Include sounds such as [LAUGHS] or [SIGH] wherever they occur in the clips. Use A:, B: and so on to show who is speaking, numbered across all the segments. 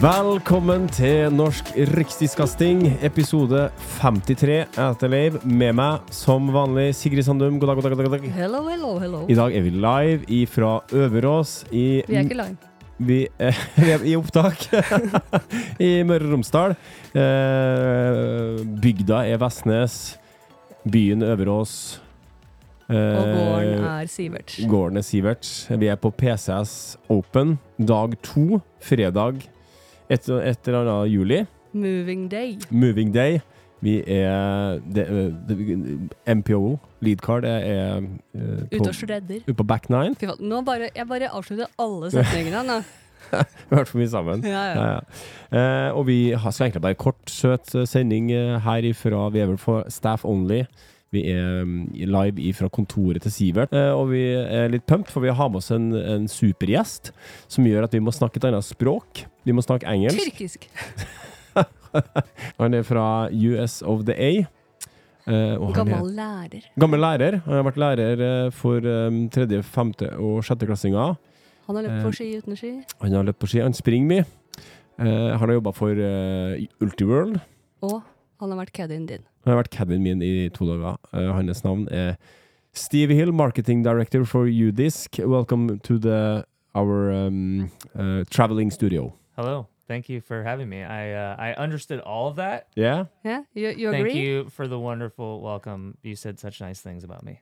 A: Velkommen til Norsk rikstidskasting, episode 53. Jeg heter Leiv. Med meg, som vanlig, Sigrid Sandum. God dag, god dag, god dag. god dag.
B: Hello, hello, hello.
A: I dag er vi live ifra Øverås i
B: Vi er ikke live.
A: vi, eh, vi er [LAUGHS] i opptak [LAUGHS] i Møre og Romsdal. Eh, bygda er Vestnes. Byen Øverås. Eh,
B: Og gården er Sivert.
A: Gården er Sivert. Vi er på PCS Open, dag to, fredag et, et eller annet juli.
B: Moving day.
A: Moving Day. Vi er det, det, MPO, lead card, er, er eh,
B: Ute og shredder.
A: på, på back nine. [LAUGHS]
B: Fy faen. Nå bare, jeg bare avslutter alle setningene. Nå.
A: Vi har vært for mye sammen.
B: Ja,
A: [LAUGHS]
B: ja.
A: Ja, ja. Eh, og vi har, skal egentlig bare en kort, søt eh, sending eh, her ifra. Vi er vel for staff only. Vi er mm, live ifra kontoret til Sivert, eh, og vi er litt pumped, for vi har med oss en, en supergjest som gjør at vi må snakke et annet språk. Vi må snakke engelsk.
B: Tyrkisk.
A: Han er fra US of the A. eh, og han er-
B: Gammel lærer.
A: Gammel lærer. Han har vært lærer eh, for um, tredje, femte og sjetteklassinger.
B: Han har løpt
A: Eh.
B: på ski uten ski.
A: Han har løpt på ski. Han springer mye. Eh, han har jobba for eh, Ultiworld.
B: Og han har vært caddien din.
A: Han har vært caddien min i to dager. Eh, hans navn er Steve Hill, marketing director for UDisk. Welcome to the, our um, uh, traveling studio.
C: Hello. Thank you for having me. I uh, I understood all of that.
A: Yeah?
B: Yeah? You, you
C: Thank
B: agree?
C: you for the wonderful welcome. You said such nice things about me.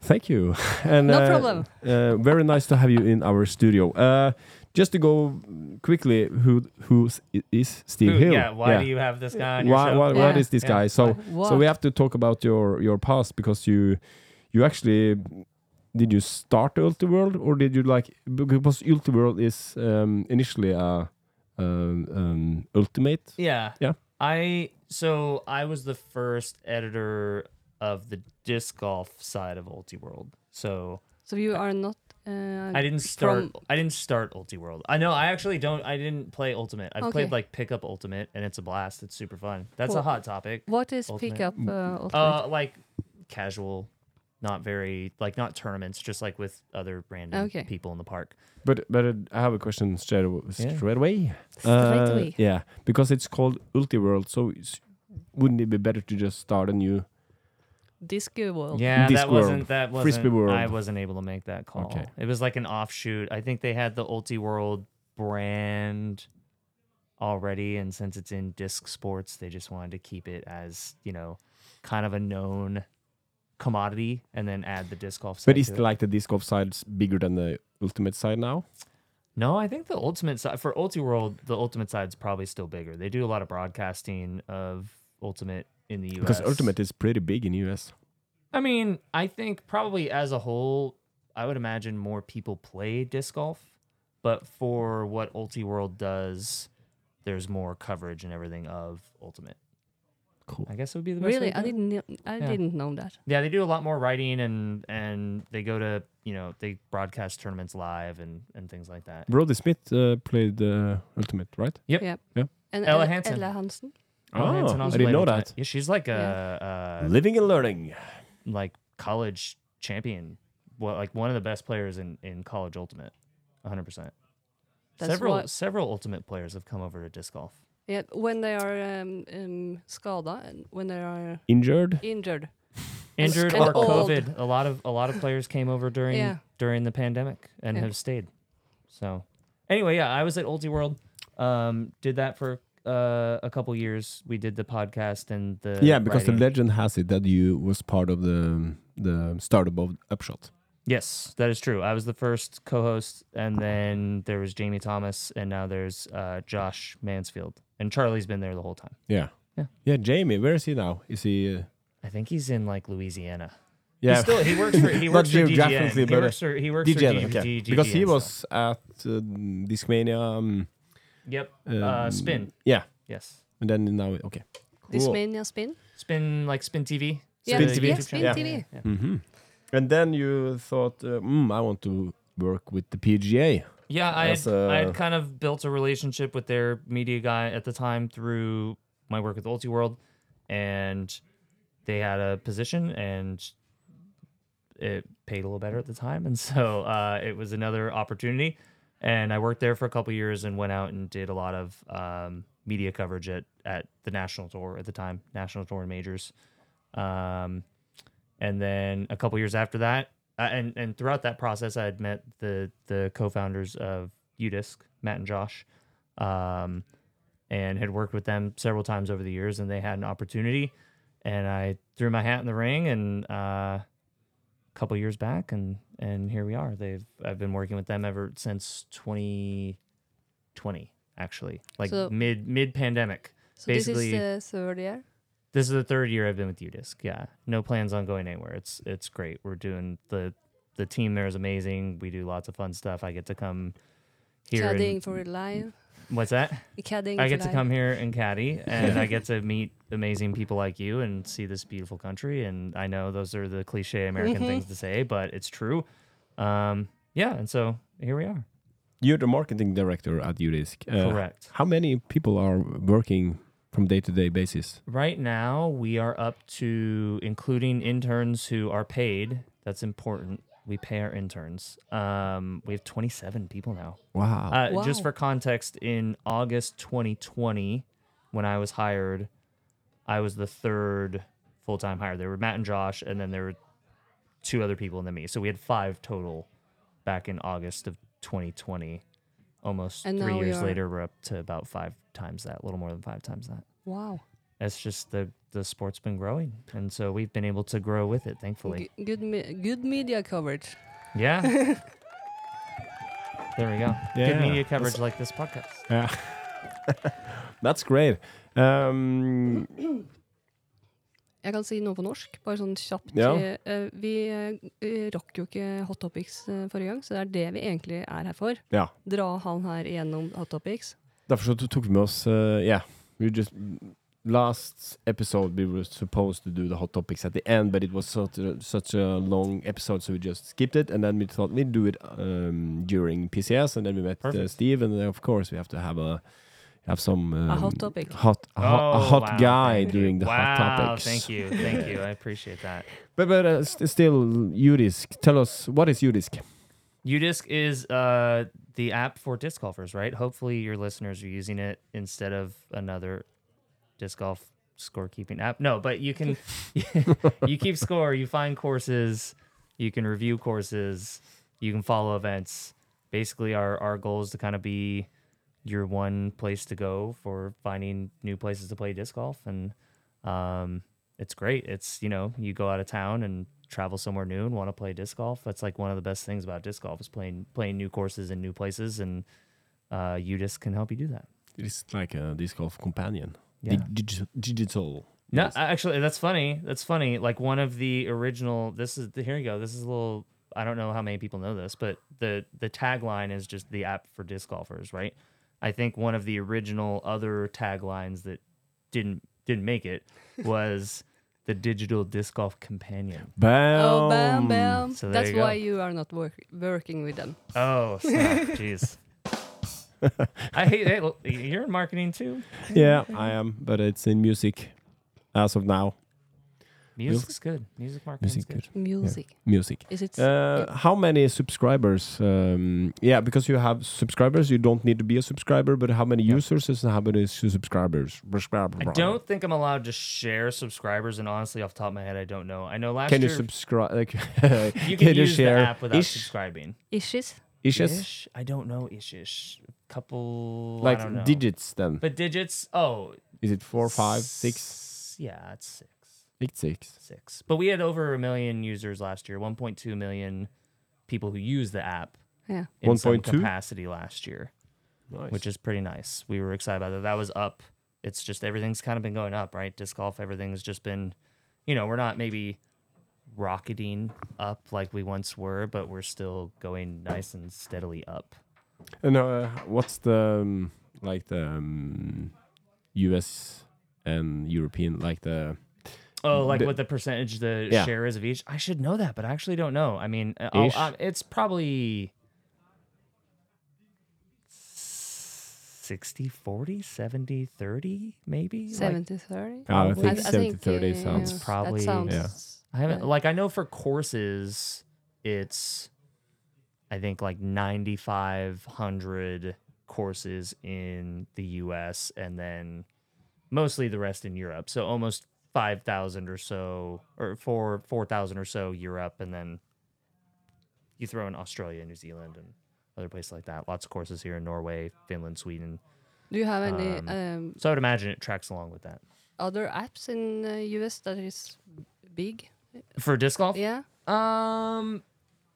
A: Thank you. [LAUGHS] And,
B: No
A: uh,
B: problem.
A: uh, very nice to have you in our studio. Uh, just to go quickly, who who is Steve
C: Who-
A: Hill?
C: yeah. Why do you have this guy on your
A: why,
C: show?
A: why,
B: Yeah.
A: what is this
C: Yeah.
A: guy? So,
B: What?
A: so we have to talk about your your past because you you actually did you start Ultiworld or did you like because Ultiworld is um, initially a um, um, ultimate?
C: Yeah.
A: Yeah.
C: I so I was the first editor of the disc golf side of Ultiworld. So
B: So you are not uh,
C: I didn't start.
B: From,
C: I didn't start Ultiworld. I know. I actually don't. I didn't play Ultimate. I've
B: Okay.
C: played like Pickup Ultimate, and it's a blast. It's super fun. That's
B: Cool.
C: a hot topic.
B: what is
C: Ultimate.
B: pickup uh, ultimate?
C: Uh, like casual, not very like not tournaments, just like with other random
B: Okay.
C: people in the park.
A: But but uh, I have a question straight aw-
C: Yeah.
A: straight away.
B: Straight
A: Uh,
B: away.
A: yeah, because it's called Ultiworld, so it's, wouldn't it be better to just start a new?
B: Disco world.
C: Yeah, that
A: Discworld.
C: wasn't that wasn't
A: Frisbee World.
C: I wasn't able to make that call.
A: Okay.
C: It was like an offshoot. I think they had the Ulti World brand already, and since it's in disc sports, they just wanted to keep it as you know, kind of a known commodity, and then add the disc golf.
A: But
C: side
A: is
C: to it.
A: like the disc golf side bigger than the ultimate side now?
C: No, I think the ultimate side for Ulti World, the ultimate side's probably still bigger. They do a lot of broadcasting of Ultimate in the US.
A: Because ultimate is pretty big in US.
C: I mean, I think probably as a whole, I would imagine more people play disc golf, but for what Ulti World does, there's more coverage and everything of Ultimate.
A: Cool.
C: I guess it would be the best.
B: Really?
C: way to
B: I
C: do it.
B: didn't, kn- I
C: Yeah.
B: didn't know that.
C: Yeah, they do a lot more writing and and they go to you know they broadcast tournaments live and and things like that.
A: Brody Smith uh, played uh, Ultimate, right?
B: And
C: Ella
B: Ella-
C: Hansen.
B: Ella Hansen.
C: Oh, Hanson
A: I
C: also
A: didn't
C: played
A: know
C: Ultimate.
A: that.
C: Yeah, she's like a, uh, a
A: Living and learning.
C: like college champion, well, like one of the best players in, in college ultimate, 100. percent
B: That's
C: Several
B: why-
C: several ultimate players have come over to disc golf.
B: Yeah, when they are um, um, skada, and when they are
A: Injured.
B: injured. And-
C: Injured
B: and
C: or
B: old.
C: COVID, a lot of a lot of players came over during
B: Yeah.
C: during the pandemic and
B: Yeah.
C: have stayed. So anyway, yeah, I was at Ulti World, um, did that for uh, a couple years. We did the podcast and the
A: yeah, because the
C: writing.
A: legend has it that you was part of the the startup of Upshot.
C: Yes, that is true. I was the first co-host, and then there was Jamie Thomas, and now there's uh, Josh Mansfield, and Charlie's been there the whole time.
A: Yeah.
C: Yeah.
A: Yeah, Jamie, where is he now? Is he? Uh,
C: I think he's in like Louisiana.
A: yeah.
C: He still he works for [LAUGHS] he
A: Not
C: works for DGN.
A: geographically,
C: He
A: but,
C: works for he works for
A: DJN,
C: D-
A: okay.
C: D- DGN
A: because he
C: stuff.
A: was at uh, Discmania. Um,
C: yep uh,
A: um,
C: spin
A: Yeah.
C: yes
A: And then now, okay.
B: Dismania Spin?
C: Spin like Spin TV.
B: Yeah,
A: Spin
C: the
A: TV.
C: YouTube
B: yeah, Spin
C: channel.
B: TV.
C: Yeah.
A: Mhm. And then you thought, uh, mm, I want to work with the PGA.
C: Yeah, I
A: That's,
C: had, I
A: uh,
C: had kind of built a relationship with their media guy at the time through my work with Ulti World, and they had a position and it paid a little better at the time, and [LAUGHS] so uh, it was another opportunity. And I worked there for a couple years and went out and did a lot of um, media coverage at at the national tour at the time, national tour and majors. Um, and then a couple years after that, uh, and and throughout that process, I had met the the co-founders of Udisc, Matt and Josh, um, and had worked with them several times over the years, and they had an opportunity, and I threw my hat in the ring, and uh, a couple years back, and and here we are. They've I've been working with them ever since 2020, actually, like
B: So-
C: mid mid pandemic.
B: So this is
C: Basically-
B: the third year.
C: This is the third year I've been with Udisc. Yeah, no plans on going anywhere. It's it's great. We're doing the the team there is amazing. We do lots of fun stuff. I get to come here. and-
B: Caddying for live.
C: what's that?
B: Caddying
C: I
B: for
C: get to
B: live.
C: come here and caddy, and I get to meet amazing people like you and see this beautiful country. And I know those are the cliche American things to say, but it's true. Um, yeah, and so here we are.
A: You're the marketing director at Udisk. Uh,
C: Correct.
A: How many people are working from day to day basis?
C: Right now, we are up to including interns who are paid. That's important. We pay our interns. Um, we have 27 people now.
A: Wow.
C: Uh,
B: Wow.
C: Just for context, in August 2020, when I was hired, I was the third full time hire. There were Matt and Josh, and then there were two other people, and then me. So we had five total back in August of 2020. Almost
B: And
C: three
B: now we
C: years
B: are-
C: later, we're up to about five times that, a little more than five times that
B: Wow.
C: that's just the the sport's been growing and so we've been able to grow with it thankfully
B: G- good, me- good media coverage.
C: yeah there we go
A: Yeah.
C: good media coverage like this podcast
A: Yeah. That's great. Um,
B: Jeg kan si noe på norsk, bare sånn kjapt.
A: Ja.
B: Eh, Vi eh, rakk jo ikke Hot Topics eh, forrige gang, så det er det vi egentlig er her for.
A: ja.
B: Dra han her igjennom Hot Topics.
A: Derfor så tok vi med oss uh, Yeah. We just Last episode we were supposed to do the hot topics at the end, but it was such a, such a long episode, so we just skipped it. And then we thought we'd do it um, during PCS, and then we met uh,
C: Perfect.
A: Steve, and then of course we have to have a have some um,
B: hot topic.
A: hot a, hot- a
C: Oh,
A: hot
C: wow,
A: guy
C: thank you.
A: doing the
C: wow,
A: hot topics.
C: thank
A: [LAUGHS]
C: you thank you i appreciate that
A: But but uh, st- still, Udisk, tell us what is Udisk?
C: udisc is uh the app for disc golfers right hopefully your listeners are using it instead of another disc golf scorekeeping app no but you can [LAUGHS] you keep score you find courses you can review courses you can follow events basically our our goal is to kind of be your one place to go for finding new places to play disc golf and um it's great it's you know you go out of town and travel somewhere new and want to play disc golf that's like one of the best things about disc golf is playing playing new courses in new places and uh udisc can help you do that
A: It's like a disc golf companion.
C: Yeah.
A: Digi- digital.
C: No,
A: Yes.
C: a- actually, that's funny. That's funny. Like one of the original. This is here you go. This is a little. I don't know how many people know this, but the the tagline is just the app for disc golfers, right? I think one of the original other taglines that didn't didn't make it [LAUGHS] was the digital disc golf companion.
A: Bam.
B: Oh, bam, bam.
C: So Um, there
B: That's
C: you go.
B: why you are not work working with them.
C: Oh, [LAUGHS] snap. jeez. I hate it. You're in marketing too.
A: Yeah, I am, but it's in music as of now.
C: Music's good. Music
A: Music,
C: marketing's good.
A: good.
B: Music.
A: Music.
B: Is it?
A: Uh, how many subscribers? Um, yeah, because you have subscribers, you don't need to be a subscriber, but how many users is and how many su- subscribers?
C: I don't think I'm allowed to share subscribers, and honestly, off the top of my head, I don't know. I know last
A: Can you
C: year
A: subscribe? Like, [LAUGHS]
C: you can,
A: you
C: use
A: share
C: the app without
A: ish-
C: subscribing.
B: issues?
A: ishes?
C: Ish? I don't know ish ish. Couple I don't know.
A: Like digits then?
C: but digits. Oh,
A: Is it four, five, six?
C: s- Yeah, it's six,
A: It's six.
C: six. But we had over a million users last year. 1.2 million people who use the app
B: Yeah.
C: in some
A: 1.2?
C: capacity last year,
A: Nice.
C: which is pretty nice. We were excited about that. That was up. It's just everything's kind of been going up, right? Disc golf, everything's just been, you know, we're not maybe rocketing up like we once were, but we're still going nice and steadily up.
A: And uh, what's the um, like the um, US and European, like the
C: Oh, like
A: The-
C: what the percentage the
A: Yeah.
C: share is of each? I should know that, but I actually don't know. I mean, I'll,
A: Ish.
C: i it's probably 60 40, 70 30, maybe. Like,
B: 70 30?
A: Yeah, I think
B: th-
A: 70 30
B: uh,
A: sounds-
B: yes,
C: Probably-
B: That sounds,
A: Yeah.
C: I haven't,
B: right.
C: like, I know for courses, it's, I think, like 9,500 courses in the US and then mostly the rest in Europe. So almost 5,000 or so, or four 4,000 or so Europe. And then you throw in Australia, New Zealand, and other places like that. Lots of courses here in Norway, Finland, Sweden.
B: Do you have any
C: Um,
B: um,
C: So I would imagine it tracks along with that.
B: other apps in uh, US that is big?
C: For disc golf?
B: Yeah.
C: Um,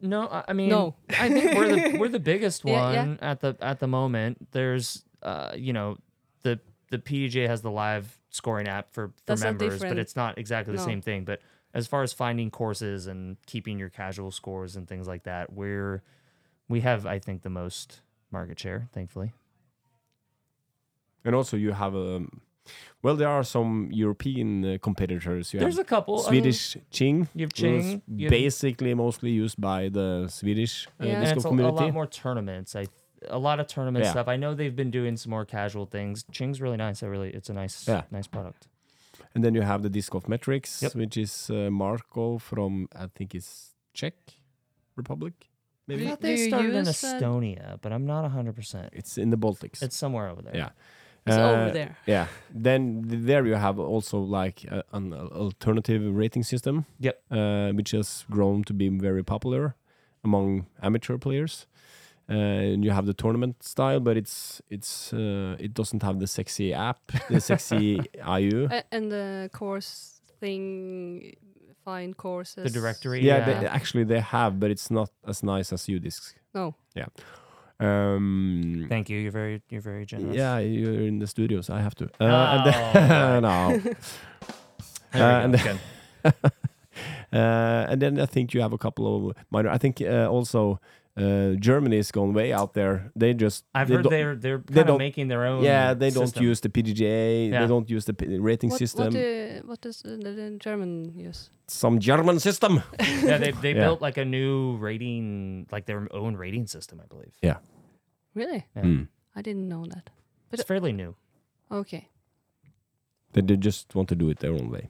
C: no, I I mean,
B: No.
C: I think we're
B: [LAUGHS]
C: the we're the biggest
B: Yeah,
C: one
B: yeah.
C: at the at the moment. There's, uh, you know, the the PDJ has the live scoring app for for
B: That's not
C: members, but
B: different.
C: it's not exactly the
B: No.
C: same thing. But as far as finding courses and keeping your casual scores and things like that, we're we have I think the most market share, thankfully.
A: And also you have um, well, there are some European uh, competitors. You
C: There's
A: have
C: a couple I mean,
A: Swedish Ching.
C: you have
A: which is
C: Ching, you have-
A: basically mostly used by the Swedish uh,
B: Yeah.
A: disco
C: and it's a, a
A: community.
C: lot more tournaments. I a lot of tournament
A: Yeah.
C: stuff. I know they've been doing some more casual things. Ching's really nice. I really, it's a nice,
A: Yeah.
C: nice product.
A: And then you have the disc of metrics,
C: Yep.
A: which is uh, Marco from I think it's Czech Republic.
C: I
A: Maybe
C: thought
B: Do
C: they
B: you
C: started in
B: use, uh,
C: Estonia, but I'm not 100. percent
A: it's in the Baltics.
C: It's somewhere over there.
A: yeah.
B: It's
A: Uh,
B: over there.
A: Yeah. Then th- there you have also like a, an al- alternative rating system.
C: Yep.
A: Uh, which has grown to be very popular among amateur players. Uh, and you have the tournament style, but it's it's uh, it doesn't have the sexy app, the
C: [LAUGHS]
A: sexy IU.
B: A- and the course thing, find courses.
C: The directory.
A: Yeah, They, actually they have, but it's not as nice as U discs.
B: No.
A: Um,
C: Thank you. You're very, you're very generous.
A: yeah, you're in the studio, so I have to. Uh,
C: Oh,
A: and then, [LAUGHS] no.
C: There
A: Uh,
C: we
A: and
C: go.
A: then- [LAUGHS]
C: Good.
A: Uh, and then I think you have a couple of minor. I think uh, also uh, Germany is going way out there. They just
C: I've
A: they
C: heard
A: don't-
C: they're they're
A: they
C: kind of
A: don't-
C: making their own.
A: yeah they don't
C: system.
A: use the PGA.
C: Yeah.
A: They don't use the p- rating
B: What,
A: system.
B: what, do, what does uh, the, the German use?
A: Some German system.
C: [LAUGHS] Yeah, they they
A: [LAUGHS] Yeah.
C: built like a new rating, like their own rating system, I believe.
B: [LAUGHS] Really?
C: Yeah.
A: Mm.
B: I didn't know that. But-
C: It's fairly new.
B: Okay.
A: They, they just want to do it their own way.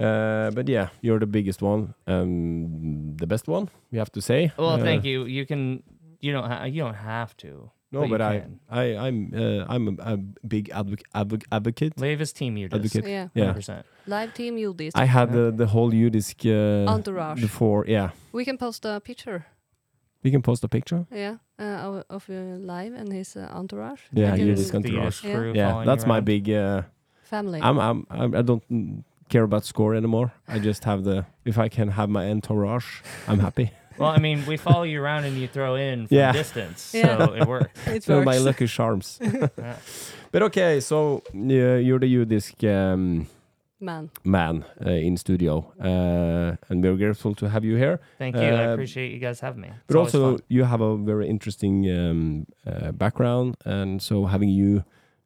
A: Uh, but yeah, you're the biggest one and the best one. We have to say.
C: Well,
A: Uh,
C: thank you. You can, you don't, ha- you don't have to.
A: No,
C: but you
A: but, I,
C: can.
A: I, I'm, uh, I'm a, a big advoc- advoc- advocate.
C: Leave his team you just
A: Advocate.
B: Yeah.
A: Yeah,
C: 100%.
B: Live team Yildiz.
A: I had the, the whole UDisc uh,
B: Entourage.
A: before. Yeah,
B: We can post a picture,
A: we can post a picture.
B: yeah, uh, of- of uh, Live and his uh, entourage.
A: Yeah,
B: I
A: you
B: can-
A: just can- entourage.
C: The crew
A: Yeah,
C: following
A: that's
C: you
A: my
C: around.
A: big. Uh,
B: Family.
A: I'm, I'm, I'm, I don't mm, care about score anymore. I
C: [SIGHS]
A: just have the. If I can have my entourage, I'm
C: [LAUGHS]
A: happy.
C: Well, I mean, we follow you around and you throw in from
A: Yeah.
B: [LAUGHS]
C: distance,
B: Yeah.
C: so it works.
A: [LAUGHS]
B: it
A: They're
B: works.
A: my lucky
C: [LAUGHS]
A: charms.
C: Yeah.
A: but okay, so uh, you're the UDisc um,
B: Man.
A: man uh, in studio, uh, and we're grateful to have you here.
C: Thank you. I
A: Uh,
C: appreciate you guys having me. It's
A: But
C: always
A: also,
C: fun.
A: you have a very interesting um, uh, background, and so having you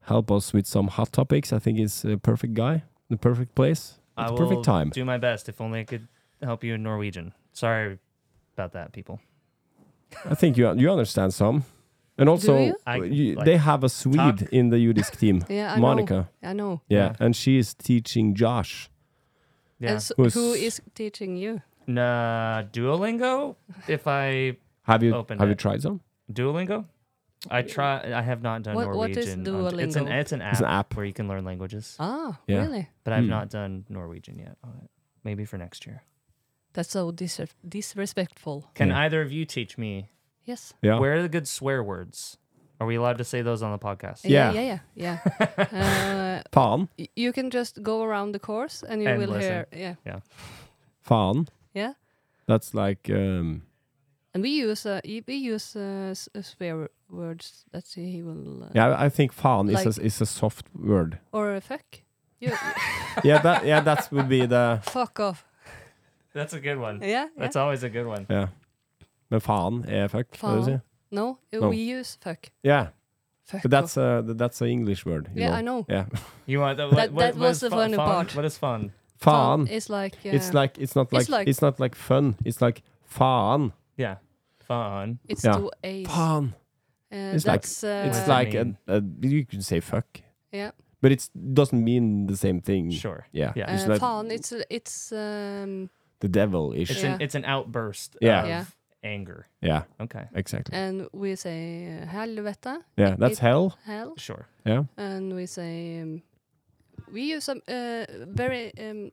A: help us with some hot topics, I think is a perfect guy, the perfect place,
C: I
A: it's
C: will
A: perfect time.
C: Do my best. If only I could help you in Norwegian. Sorry about that, people.
A: I think you you understand some, and also
B: you?
C: I,
A: you-
C: like,
A: they have a Swede
C: talk.
A: in the UDisc team,
B: Yeah, [LAUGHS] I know.
A: Monica.
B: I know.
A: Yeah,
C: Yeah.
A: and she is teaching Josh.
C: Yeah.
B: And so
A: Who's-
B: who is teaching you?
C: Nah, Duolingo. If I
A: Have you
C: Open
A: have you
C: it.
A: tried some?
C: Duolingo, I try. I have not done
B: What- what is
C: Norwegian. on- It's an
B: Duolingo?
C: it's an app,
A: It's an app.
C: where you can learn languages,
B: Ah,
A: Yeah.
B: really?
C: but I've
A: Hmm.
C: not done Norwegian yet. on it. Maybe for next year.
B: That's so disre- disrespectful.
C: Can
A: Yeah.
C: either of you teach me
B: Yes.
A: Yeah,
C: Where are the good swear words? Are we allowed to say those on the podcast?
A: Yeah.
B: Yeah,
A: [LAUGHS]
B: yeah, yeah. yeah. uh,
A: fan,
B: y- you can just go around the course and you
C: And
B: will
C: listen.
B: hear. Yeah,
A: fan.
B: yeah.
A: That's like um,
B: And we use uh, y- we use uh, s- uh, swear words. Let's see, he will. Uh,
A: yeah. I- I think fan is a,
B: Like-
A: is a soft word.
B: Or uh, fuck. You,
A: yeah, that yeah that would be the
B: fuck off.
C: That's a good one.
B: Yeah. yeah.
C: That's always a good one.
A: yeah. Men fan er fuck. hva er det du
B: Faen.
A: sier?
B: no, uh,
A: No.
B: we use fuck.
A: Yeah.
B: Fuck
A: But that's a that's an English word. You
B: Oh. Yeah,
A: know?
B: I know.
A: Yeah,
C: You want the,
B: That-
C: what, what,
B: that
C: what
B: was
C: is
B: the
C: fu-
B: funny
C: fun?
B: part.
C: What is fun?
A: faen.
B: It's like uh, yeah,
A: It's like it's not like
B: It's
A: it's,
B: like-
A: not like fun. It's like faen.
C: Yeah, fun.
B: it's
A: yeah.
B: two A's. Uh,
A: Faen. it's like-
B: that's
A: It's
B: uh,
C: does that
A: like a,
C: mean?
A: a, you can say fuck,
B: yeah.
A: but it doesn't mean the same thing.
C: Sure.
A: Yeah.
C: Yeah.
A: It's
B: Uh,
A: like
B: faen, it's it's um
A: the devil ish.
C: It's
B: Yeah.
C: an it's an outburst
A: Yeah.
C: of
B: Yeah.
C: anger.
A: yeah.
C: Okay.
A: Exactly.
B: and we say uh, helvete,
A: Yeah. That's
B: Uh, it-
A: hell.
B: hell,
C: Sure.
A: Yeah.
B: and we say um, we use some uh, very um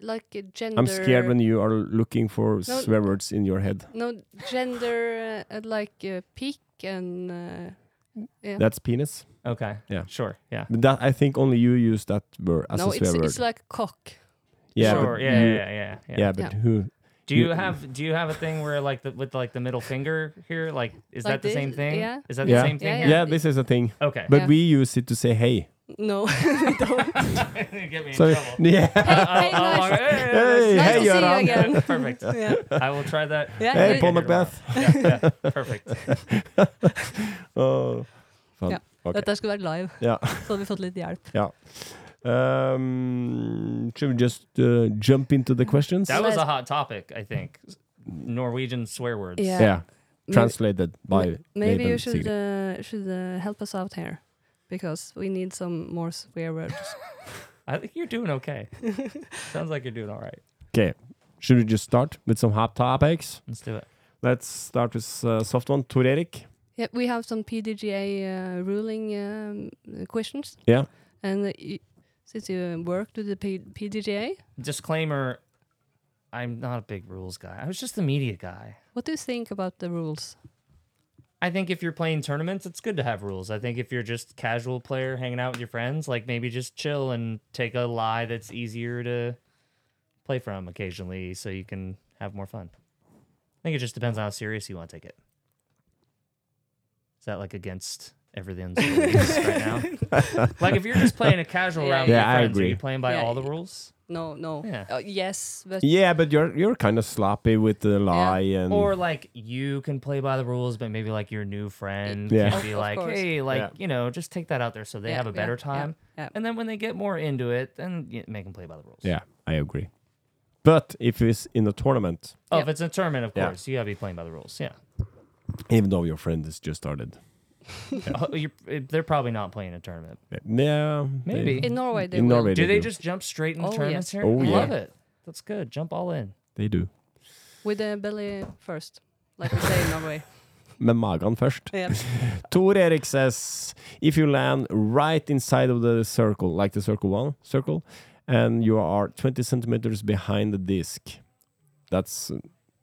B: like a gender.
A: I'm scared when you are looking for swear words in your head.
B: no gender uh, uh, like uh, peak and uh, yeah.
A: That's penis.
C: Okay.
A: Yeah.
C: Sure. Yeah.
A: But that I think only you use that word as
B: no,
A: a swear
B: it's
A: word.
B: it's like cock.
A: yeah,
C: Sure.
A: but
C: Yeah,
A: you-
C: yeah, yeah. Yeah.
A: yeah,
C: yeah.
A: But
B: Yeah.
A: who?
C: Do you
A: You-
C: have do you have a thing where like the with like the middle finger here? Like is
B: Like
C: that the same
B: this?
C: thing?
B: Yeah.
C: Is that
A: Yeah.
C: the same thing?
B: Yeah,
A: Yeah.
C: here?
A: this is a thing.
C: Okay. [LAUGHS]
A: But
B: Yeah.
A: we use it to say hey.
B: No, [LAUGHS] we don't.
C: Get me in
A: So
C: trouble. [LAUGHS]
A: [LAUGHS]
B: [LAUGHS]
A: yeah.
B: hey, hey,
C: Oh, oh,
B: nice.
C: hey, hey,
A: Hey,
B: nice
A: hey,
B: to see
A: Göran.
B: you [LAUGHS]
C: [LAUGHS]
B: again.
C: Perfect.
B: yeah.
C: I will try that.
B: Yeah,
A: Hey,
B: you-
A: Paul
C: Yeah, tomorrow.
A: Macbeth.
C: Yeah,
A: [LAUGHS]
C: yeah,
B: [LAUGHS]
C: perfect.
A: Oh. Faen.
B: Ja.
A: Ok.
B: Dette skulle vært live,
A: Ja.
B: så hadde vi fått litt hjelp.
A: Yeah. Um, should we just uh, jump into the questions?
C: That
B: So
C: was a
B: let's-
C: hot topic, I think. Norwegian swear words.
B: Yeah.
A: yeah.
B: Maybe-
A: Translated by
B: Maybe you
A: Laban
B: should
A: Sigrid.
B: uh, should uh, help us out here, because we need some more swear words.
C: I think you're doing okay.
B: [LAUGHS]
C: Sounds like you're doing all right.
A: Okay. Should we just start with some hot topics?
C: Let's do it.
A: Let's start with uh, soft one. Tor Erik.
B: yeah, we have some PDGA uh, ruling um, uh, questions,
A: Yeah.
B: and uh, y- since you worked with the P- PDGA,
C: Disclaimer I'm not a big rules guy. I was just the media guy.
B: what do you think about the rules?
C: I think if you're playing tournaments, it's good to have rules. I think if you're just casual player hanging out with your friends, like maybe just chill and take a lie that's easier to play from occasionally so you can have more fun. I think it just depends on how serious you want to take it. Is that like against everything's rules right now?
B: [LAUGHS]
C: Like if you're just playing a casual
B: Yeah,
C: round with
A: yeah.
C: your
A: Yeah, I
C: friends, are you
A: agree.
C: playing by
B: Yeah,
C: all the
B: yeah.
C: rules?
B: No, no.
C: Yeah.
B: Uh, yes, but
A: Yeah, but you're you're kind of sloppy with the lie and
C: Or like you can play by the rules, but maybe like your new friend
A: Yeah.
C: can
B: Of-
C: be
B: of
C: like,
B: course.
C: hey, like
A: Yeah.
C: you know, just take that out there so they
B: Yeah,
C: have a
B: yeah,
C: better
B: yeah,
C: time.
B: yeah.
C: And then when they get more into it, then you make them play by the rules.
A: yeah, I agree. But if it's in a tournament,
C: Oh,
B: Yeah.
C: if it's a tournament, of
A: Yeah.
C: course, you gotta be playing by the rules. Yeah.
A: even though your friend has just started,
C: [LAUGHS] Oh, you're, eh, they're probably not playing a tournament.
A: yeah, they-
C: Maybe.
B: in Norway they
A: in
B: will.
A: Norway
C: Do
A: they
C: they
A: do.
C: just jump straight into
B: Oh,
C: tournaments
B: yes.
C: here?
A: Oh,
C: I
A: yeah.
C: Love it. That's good. Jump all in.
A: they do.
B: with the belly first, like we say in
A: [LAUGHS]
B: Norway.
A: Med magen først.
B: Yeah.
A: Tor Erik says, if you land right inside of the circle, like the circle one circle, and you are 20 centimeters behind the disc, that's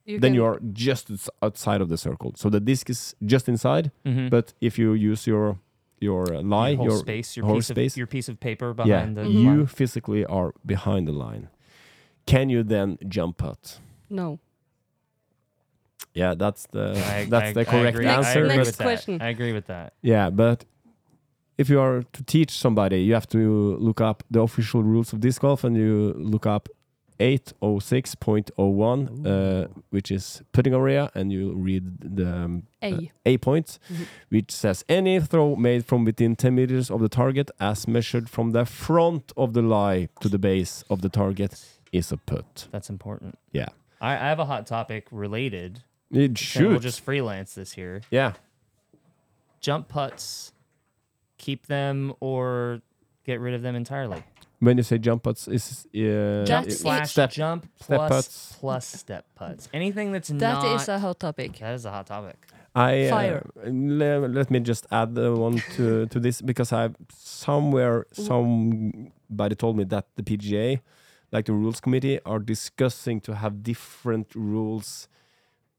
B: You
A: then
B: can-
A: you are just outs- outside of the circle. So the disc is just inside,
C: Mhm.
A: but if you use your your uh, lie,
C: your whole
A: your,
C: space, your
A: whole
C: piece
A: space.
C: of your piece of paper
A: yeah,
C: behind the
B: Mm-hmm.
A: you
C: line.
A: physically are behind the line. Can you then jump out?
B: no.
A: Yeah, that's the
C: I-
A: that's
C: I-
A: the
C: I
A: correct
C: agree- I
A: answer.
C: agree
A: but-
B: Next
C: with that.
B: question.
C: I agree with that.
A: Yeah, but if you are to teach somebody, you have to look up the official rules of disc golf and you look up 806.01, uh, which is putting area, and you read the um,
B: A.
A: uh, A point,
B: Mhm.
A: which says any throw made from within 10 meters of the target as measured from the front of the lie to the base of the target is a put.
C: That's important.
A: Yeah.
C: I, I have a hot topic related.
A: It
C: and We'll
A: should.
C: just freelance this here.
A: Yeah.
C: Jump putts, keep them or get rid of them entirely.
A: When you say jump putts, is uh,
B: Jump
A: it-
C: Slash
A: step.
C: jump
A: step
C: plus-
A: putts.
C: plus step putts. Anything that's
B: That
C: not
B: is a hot topic.
C: that is a hot topic.
A: I
B: Fire.
A: Uh, le- let me just add uh, one to to this because I somewhere somebody told me that the PGA, like the rules committee, are discussing to have different rules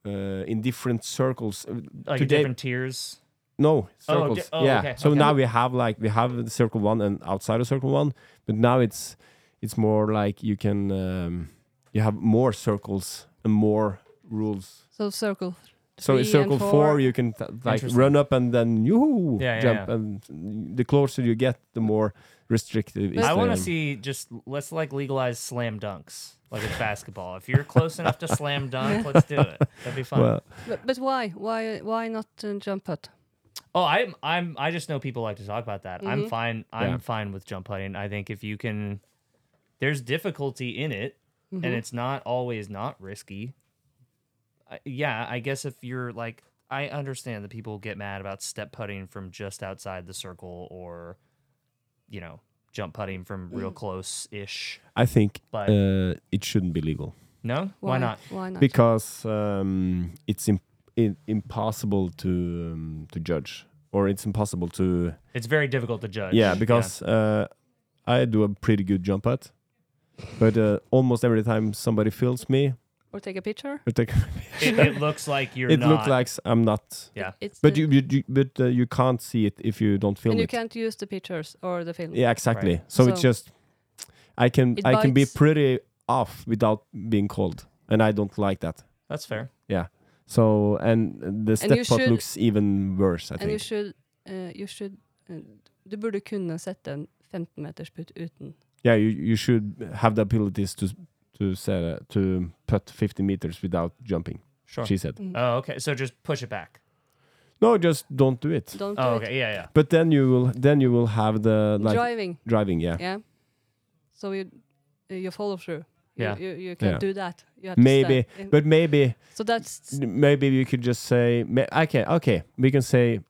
A: uh, in different circles. Uh,
C: Like
A: Today-
C: different tiers.
A: No
C: Oh,
A: circles.
C: di- oh,
A: yeah.
C: okay,
A: So
C: okay.
A: now we have like we have the circle one and outside of circle one, but now it's it's more like you can um, you have more circles and more rules.
B: So circle.
A: So in
B: three and
A: circle four, you can t- like
C: Interesting.
A: run up and then you
C: Yeah, yeah,
A: jump,
C: yeah.
A: and the closer you get, the more restrictive. is
C: I
A: the-
C: want to see just let's like legalize slam dunks like it's basketball. If you're close enough to slam dunk, let's do it. That'd be fun.
A: Well,
B: But, but why? Why? Why not uh, jump putt?
C: Oh, I'm I'm I just know people like to talk about that.
B: Mm-hmm.
C: I'm fine. I'm
A: Yeah.
C: fine with jump putting. I think if you can there's difficulty in it
B: Mm-hmm.
C: and it's not always not risky. I, yeah, I guess if you're like I understand that people get mad about step putting from just outside the circle or you know, jump putting from
B: Mm.
C: real close ish.
A: I think
C: But
A: uh, it shouldn't be legal
C: no? Why, not?
B: Why not?
A: because um, it's imp- i- impossible to um, to judge, or it's impossible to
C: It's very difficult to judge.
A: yeah. Because Uh, I do a pretty good jump at, but uh, almost every time somebody fills me,
B: or take a picture.
A: I take-
C: it, it looks
A: [LAUGHS]
C: like you're
A: it
C: not
A: looks like I'm not.
C: yeah.
B: It's
A: But
B: the-
A: you, you, you but uh, you can't see it if you don't film
B: and you
A: it.
B: can't use the pictures or the film.
A: Yeah, exactly.
C: Right.
A: So, it's
B: So-
A: just I can
B: It
A: I can be
B: bites.
A: pretty off without being called, and I don't like that.
C: that's fair.
A: So and the step
B: you
A: part
B: should-
A: looks even worse. I
B: And you
A: think.
B: should, eh, you should eh, Du burde kunne sette en 15 meters putt uten.
A: Yeah, you, you should have the abilities to to set a, to put 50 meters without jumping.
C: Sure.
A: She said,
C: Oh, okay. So just push it back.
A: no, just don't do it.
B: Don't
C: Oh,
B: do it.
C: okay. Yeah, yeah.
A: But then you will then you will have the Ah, like
B: Driving.
A: driving. Yeah,
B: Yeah. So you you follow through. You,
C: Yeah.
B: You, you can't
A: Yeah.
B: do that. You have to
A: maybe.
B: stand in-
A: But maybe
B: so that's
A: maybe you could just say ma- okay okay we can say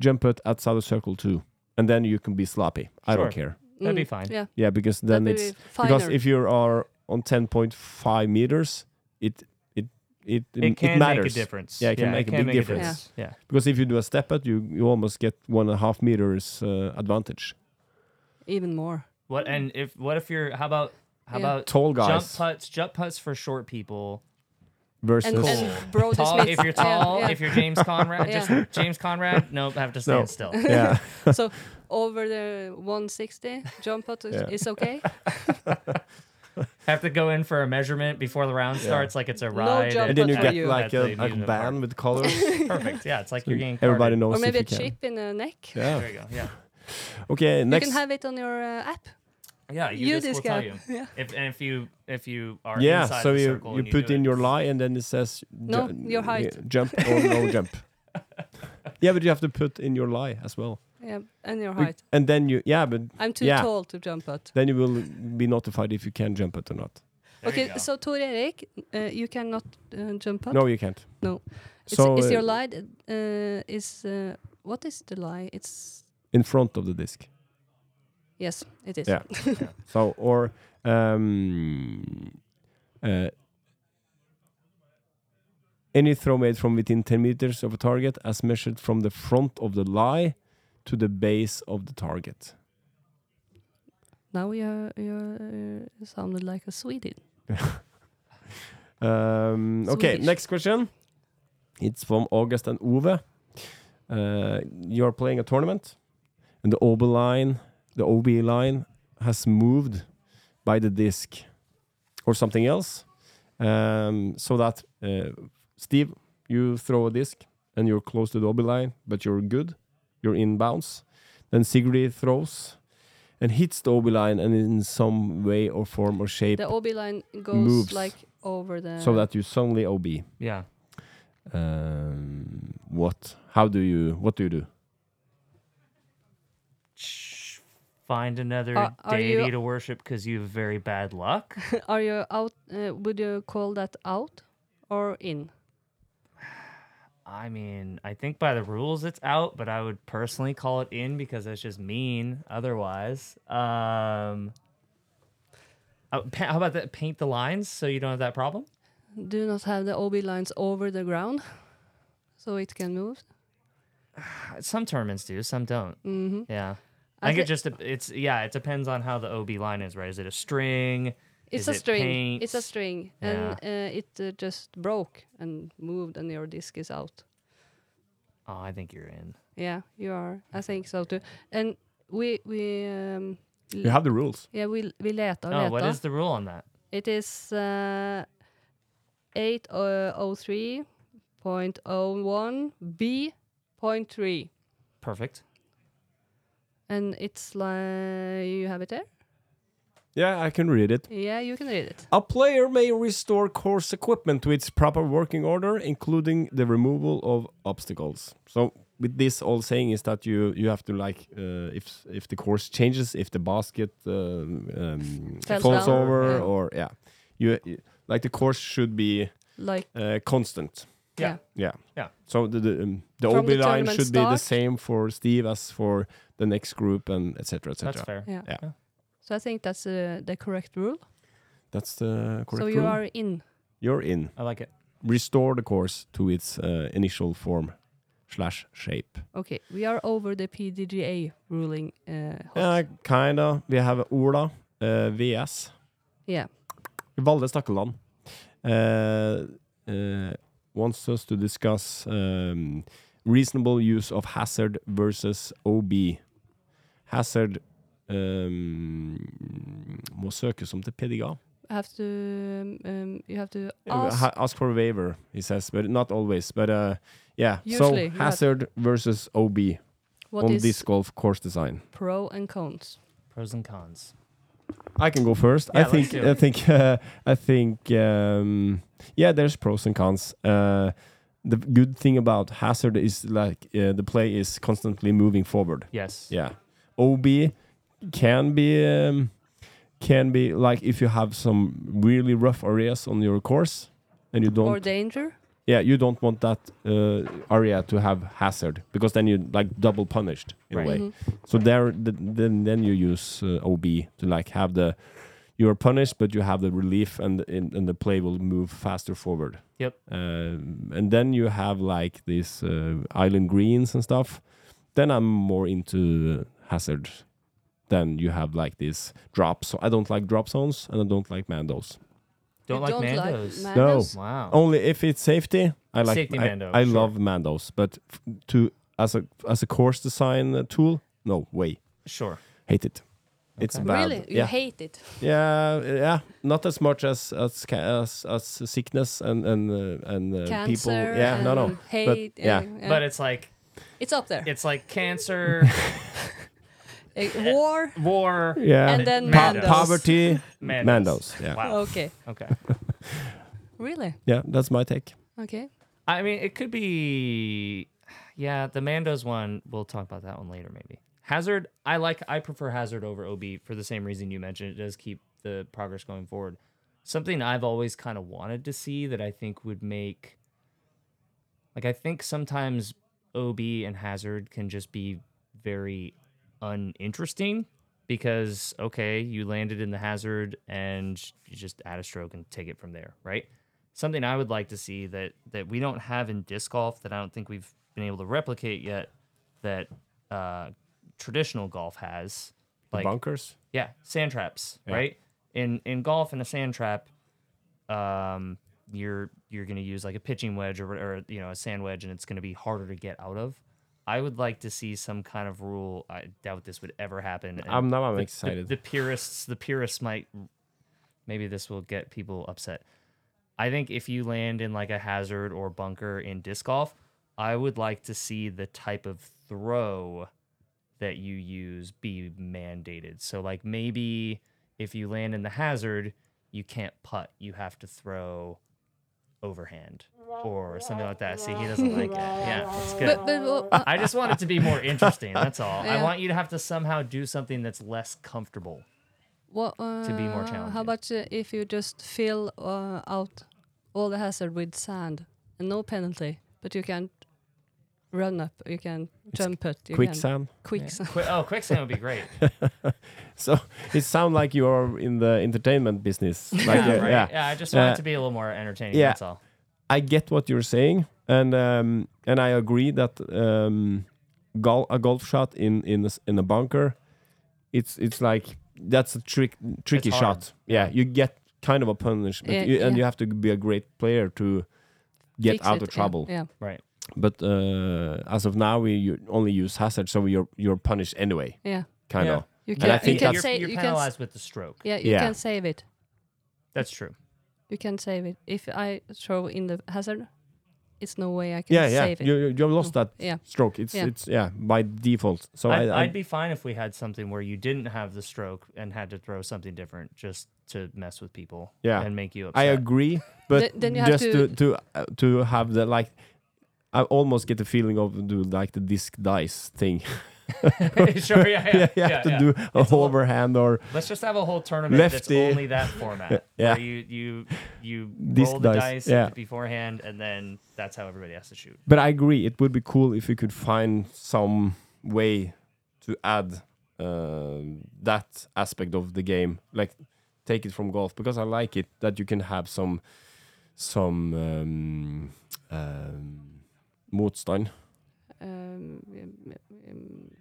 A: jump it outside the circle too, and then you can be sloppy. I don't care.
C: That'd be
B: mm,
C: fine.
B: Yeah.
A: Yeah, because then
B: that'd be
A: it's
B: finer.
A: because if you are on 10.5 meters, it it it
C: It can
A: matters.
C: make a difference.
A: Yeah, it can make a big difference.
C: Yeah. yeah.
A: Because if you do a step out, you, you almost get one and a half meters uh, advantage.
B: even more.
C: What and if what if you're how about how
B: Yeah.
C: about
A: Tall
C: jump
A: guys
C: putts? Jump putts for short people.
A: versus
B: And,
C: Cool.
B: and Brody
C: Tall
B: Smith.
C: if you're
B: Yeah,
C: tall.
B: yeah.
C: If you're James Conrad,
B: Yeah.
C: just James Conrad. Nope, have to stand
A: No.
C: still.
B: [LAUGHS]
A: yeah.
B: so over the 160 jump putt is,
A: Yeah.
B: is
A: [LAUGHS]
B: okay.
C: Have to go in for a measurement before the round starts, like it's a ride.
B: jump
A: and then you
B: for
A: get
B: you.
A: like
C: That's
A: a,
C: how you
A: like
C: do the
A: band with colors.
C: Perfect. Yeah, it's
A: [LAUGHS]
C: like you're getting
A: Mm. Everybody
C: carded.
A: knows
B: or maybe a
A: if you can.
B: chip in the neck.
A: Yeah.
C: There you go. Yeah.
A: Okay.
B: You
A: Next.
B: can have it on your uh, app.
C: Yeah. You,
B: You
C: just
B: this
C: will
B: guy.
C: tell
B: [LAUGHS]
C: you. If and if you if you are
A: yeah.
C: inside
A: So
C: the
A: you
C: circle
A: you
C: and
A: put
C: do
A: in
C: it,
A: your lie and then it says
B: No,
A: ju-
B: your height.
A: yeah, Jump or
B: [LAUGHS]
A: no jump. Yeah, but you have to put in your lie as well.
B: Yeah, and your
A: Be-
B: height.
A: And then you yeah, but
B: I'm too
A: yeah.
B: tall to jump putt.
A: then you will be notified if you can jump it or not.
C: There you
B: okay,
C: go.
B: so Tor Erik, uh, you cannot uh, jump putt.
A: No, you can't.
B: No. Is,
A: So
B: is
A: uh,
B: your lie? Uh, is uh, what is the lie? It's
A: in front of the disc.
B: yes, it is.
A: Yeah. So or um, uh, any throw made from within 10 meters of a target as measured from the front of the lie to the base of the target.
B: [LAUGHS] Now you you uh, sounded like a Sweden.
A: Um, okay,
B: Swedish.
A: next question. It's from August and Uwe. Uh, you're playing a tournament, and the OB line, the OB line, has moved by the disc or something else, um, so that uh, Steve, you throw a disc and you're close to the OB line, but you're good, you're in bounds. Then Sigrid throws and hits the OB line, and in some way or form or shape,
B: The OB line goes
A: moves.
B: like over the.
A: so that you suddenly OB.
C: Yeah.
A: Um, what? How do you? What do you do?
C: Sh- Find another
B: Are- are you-
C: deity to worship because you have very bad luck.
B: [LAUGHS] are you out? Uh, would you call that out or in?
C: I mean, I think by the rules it's out, but I would personally call it in because that's just mean otherwise. Um, oh, pa- how about that? Paint the lines so you don't have that problem.
B: Do not have the OB lines over the ground, so it can move.
C: Uh, Some tournaments do, some don't.
B: hmm
C: Yeah.
B: I
C: I think
B: thi-
C: it just dep- it's yeah it depends on how the OB line is right. Is it a string?
B: It's
C: Is
B: a
C: it
B: string.
C: paint?
B: It's a string, and uh, it uh, just broke and moved, and your disc is out.
C: Oh, I think you're in.
B: Yeah, you are. I
C: Mm-hmm.
B: think so too. And we we um,
A: You have the rules.
B: Oh, yeah we we leta
C: No, Oh, what
B: leta.
C: is the rule on that?
B: It is uh, 803.01b.3.
C: Perfect.
B: And it's like, you have it there?
A: Yeah, I can read it.
B: Yeah, you can read it.
A: A player may restore course equipment to its proper working order, including the removal of obstacles. So with this all saying is that you you have to like uh, if if the course changes, if the basket um, um,
B: Falls
A: falls
B: down,
A: over,
B: yeah.
A: or yeah, you like the course should be
B: Like
A: uh, constant.
B: Yeah.
A: Yeah.
C: Yeah.
A: So the the, um, the
B: From
A: OB
B: the
A: line
B: tournament
A: should be the
B: start.
A: same for Steve as for the next group and etc. etc.
C: That's fair.
B: yeah.
A: Yeah.
B: So I think that's uh, the correct rule.
A: That's the correct
B: so you
A: rule.
B: are in.
A: You're in.
C: I like it.
A: Restore the course to its uh, initial form slash shape.
B: Okay, we are over the PDGA ruling. Uh,
A: Uh,
B: hot.
A: kinda. We have Ola, uh, VS.
B: yeah.
A: Valle Stakkeland uh, uh, wants us to discuss um, reasonable use of hazard versus OB. Hazard um, må søkes om til PDGA.
B: I have to. um, Um, you have to ask.
A: Uh, Ha- ask for a waiver, he says, but not always. But uh, yeah,
B: Usually,
A: so
B: yeah.
A: hazard versus OB
B: what
A: on
B: is
A: this golf course design.
B: pro and cons?
C: Pros and cons.
A: I can go first. I
C: Yeah, let's
A: think
C: do it.
A: I think uh, I think um, yeah, there's pros and cons. Uh, the good thing about Hazard is like uh, the play is constantly moving forward.
C: Yes.
A: Yeah, OB can be um, can be like if you have some really rough areas on your course and you
B: Or
A: don't
B: danger?
A: yeah you don't want that uh, area to have hazard because then you like double punished in
C: Right. Mm-hmm.
A: a way.
B: Mhm.
A: So there, th- then then you use uh, OB to like have the you are punished, but you have the relief, and and, and the play will move faster forward.
C: Yep.
A: Um, and then you have like these uh, island greens and stuff. Then I'm more into hazard. Then you have like these drops. So I don't like drop zones, and I don't like mandos.
C: Don't
B: You
C: like
B: don't like
C: Mandos.
B: Mandos?
C: wow.
A: Only if it's safety, I like.
C: Safety
A: I,
C: Mando,
A: I
C: sure.
A: love mandos, but f- to as a as a course design uh, tool, no way,
C: Sure.
A: hate it. It's
C: Okay.
A: bad.
B: Really? You
A: yeah. Uh,
B: hate it?
A: Yeah, yeah, not as much as as ca- as, as sickness and and uh, and uh,
B: Cancer?
A: people. Yeah, no, no.
B: and Hate?
A: yeah.
B: uh, yeah.
C: But it's like
B: it's up there.
C: it's like
A: [LAUGHS]
C: cancer,
B: Uh, war?
C: war,
A: Yeah,
B: And then
A: Pa-
C: Mandos.
A: poverty,
C: [LAUGHS] Mandos.
A: Mandos. Yeah,
C: Wow.
B: Okay.
C: Okay.
B: Really?
A: yeah, that's my take.
B: Okay.
C: I mean, it could be. Yeah, the Mandos one. We'll talk about that one later, maybe. Hazard. I like. I prefer Hazard over OB for the same reason you mentioned. It does keep the progress going forward. Something I've always kind of wanted to see that I think would make. Like I think sometimes OB and Hazard can just be very uninteresting because okay, you landed in the Hazard and you just add a stroke and take it from there, right? something I would like to see that that we don't have in disc golf that I don't think we've been able to replicate yet that uh, traditional golf has like
A: Bunkers.
C: yeah sand traps right in in golf in a sand trap um you're you're gonna use like a pitching wedge or, or you know a sand wedge and it's gonna be harder to get out of I would like to see some kind of rule I doubt this would ever happen and
A: I'm now I'm
C: the-
A: excited.
C: The, the purists, the purists might. Maybe this will get people upset. I think if you land in like a hazard or bunker in disc golf, I would like to see the type of throw that you use be mandated. So like maybe if you land in the hazard, you can't putt. You have to throw overhand or something like that. See, he doesn't like it. Yeah, it's good.
B: But, but well, uh,
C: I just want it to be more interesting. That's all.
B: [LAUGHS]
C: I
B: Yeah.
C: want you to have to somehow do something that's less comfortable.
B: what, uh,
C: be more
B: How
C: challenging.
B: about uh, if you just fill uh, out all the hazard with sand and no penalty, but you can't run up, you can jump it, you can
A: Quicksand.
B: quick sand.
C: Qui- oh, quicksand would
A: [LAUGHS]
C: be great.
A: So [LAUGHS] it sounds like you are in the entertainment
C: [LAUGHS]
A: business. Like,
C: yeah,
A: uh,
C: right?
A: yeah,
C: yeah, I just want
A: Uh,
C: it to be a little more entertaining.
A: yeah.
C: That's all.
A: I get what you're saying, and um, and I agree that um, gol- a golf shot in in a, s- in a bunker, it's it's like that's a trick tricky
C: hard.
A: shot. Yeah, you get kind of a punishment,
B: Yeah,
A: you, and
B: yeah.
A: you have to be a great player to get
B: Fix
A: out
B: it,
A: of
B: yeah,
A: trouble.
B: Yeah.
C: Right.
A: But uh, as of now, we u- only use hazard, so you're you're punished anyway,
B: yeah,
A: kind of.
B: You
A: I
B: can,
A: think
B: you can
A: that's-
C: you're,
B: say
C: you're
B: you can s-
C: penalized with the stroke.
B: yeah, you
A: Yeah.
B: can save it.
C: That's true.
B: You can save it. If I throw in the hazard, it's no way I can
A: Yeah, yeah,
B: save it. Mm.
A: you you- you lost that
B: Yeah.
A: stroke. It's
B: Yeah.
A: it's yeah by default. So I,
C: I'd,
A: I,
C: I'd be fine if we had something where you didn't have the stroke and had to throw something different just to mess with people.
A: Yeah.
C: and make you upset.
A: I agree, but
B: Th- then you have
A: just to
B: to-
A: to uh, to have the like I almost get the feeling of do like the disc dice thing.
C: [LAUGHS] sure, [LAUGHS] yeah, yeah,
A: [LAUGHS] yeah, you
C: yeah,
A: have to
C: yeah.
A: do a
C: It's a lot-
A: overhand or
C: Let's just have a whole tournament
A: Lefty.
C: that's only that
A: [LAUGHS]
C: format.
A: Yeah.
C: Where you you you
A: These
C: roll the
A: dice,
C: dice
A: yeah.
C: beforehand, and then that's how everybody has to shoot.
A: But I agree, it would be cool if we could find some way to add uh, that aspect of the game, like take it from golf, because I like it that you can have some some um, um, motstand.
B: Um, em, em,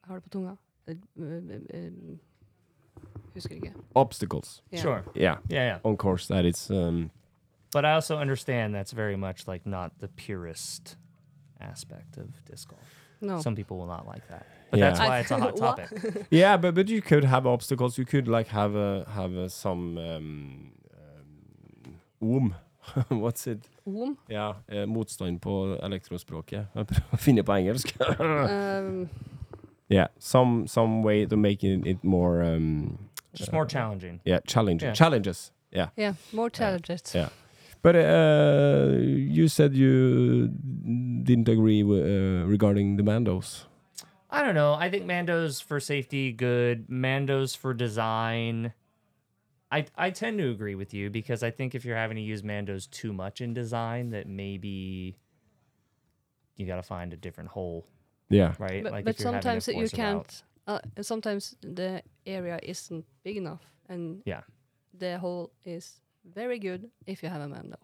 B: Har det på tunga? Eh, em, em, em, um, Husker ikke.
A: Obstacles,
B: Ja.
C: Sure.
A: yeah,
C: Yeah, yeah.
A: on course. That it's um,
C: But I also understand that's very much like not the purest aspect of disc golf.
B: No.
C: Some people will not like that. But
A: Yeah.
C: that's why it's a
B: [LAUGHS]
C: hot
B: What?
C: topic.
A: yeah, but but you could have obstacles. You could like have a have a, some um, um, womb. [LAUGHS] What's it?
B: Om.
A: Ja, eh, motstand på elektrospråket. Jeg prøver å finne på engelsk. [LAUGHS]
B: Um,
A: yeah, some, some way to make it, it more um,
C: Just more challenging.
A: yeah, challenge,
C: Yeah.
A: challenges. Yeah.
B: yeah, more challenges.
A: Yeah. But uh, you said you didn't agree wi- uh, regarding the Mandos.
C: I don't know. I think Mando's for safety, good. Mando's for design. I I tend to agree with you because I think if you're having to use Mando's too much in design, that maybe you got to find a different hole,
A: Yeah.
C: right?
B: But,
C: if
B: but
C: you're having to
B: sometimes you
C: force it out.
B: can't. Uh, sometimes the area isn't big enough, and
C: Yeah.
B: the hole is very good if you have a Mando.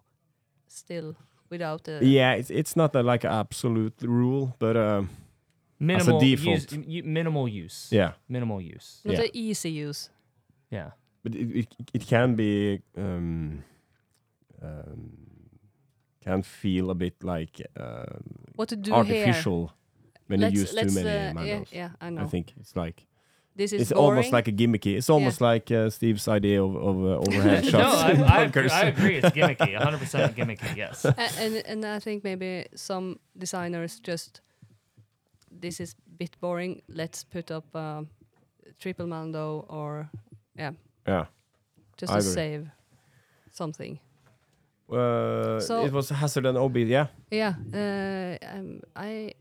B: Still, without the
A: Yeah, it's, it's not a, like an absolute rule, but um,
C: Minimal use,
A: default.
C: y- minimal use.
A: yeah.
C: Minimal use.
B: not
A: Yeah.
B: the easy use.
C: Yeah.
A: But it, it, it can be um, um, can feel a bit like um,
B: What to do here?
A: artificial when you use too many
B: uh, yeah,
A: Mandos.
B: yeah, I know.
A: I think it's like
B: this is
A: it's,
B: boring.
A: almost like a gimmicky. It's almost like uh, Steve's idea of, of uh,
B: [LAUGHS]
A: overhead
C: no,
A: shots.
C: I,
A: [LAUGHS] in
C: I,
A: bunkers.
C: I agree. It's
A: [LAUGHS]
C: gimmicky. 100% gimmicky. Yes.
B: A- and and I think maybe some designers just this is a bit boring. Let's put up um, triple mando or yeah,
A: yeah.
B: just
A: I
B: to
A: agree.
B: save something.
A: Uh,
B: So-
A: it was Hazard and Obi. Yeah.
B: Yeah, uh, um, I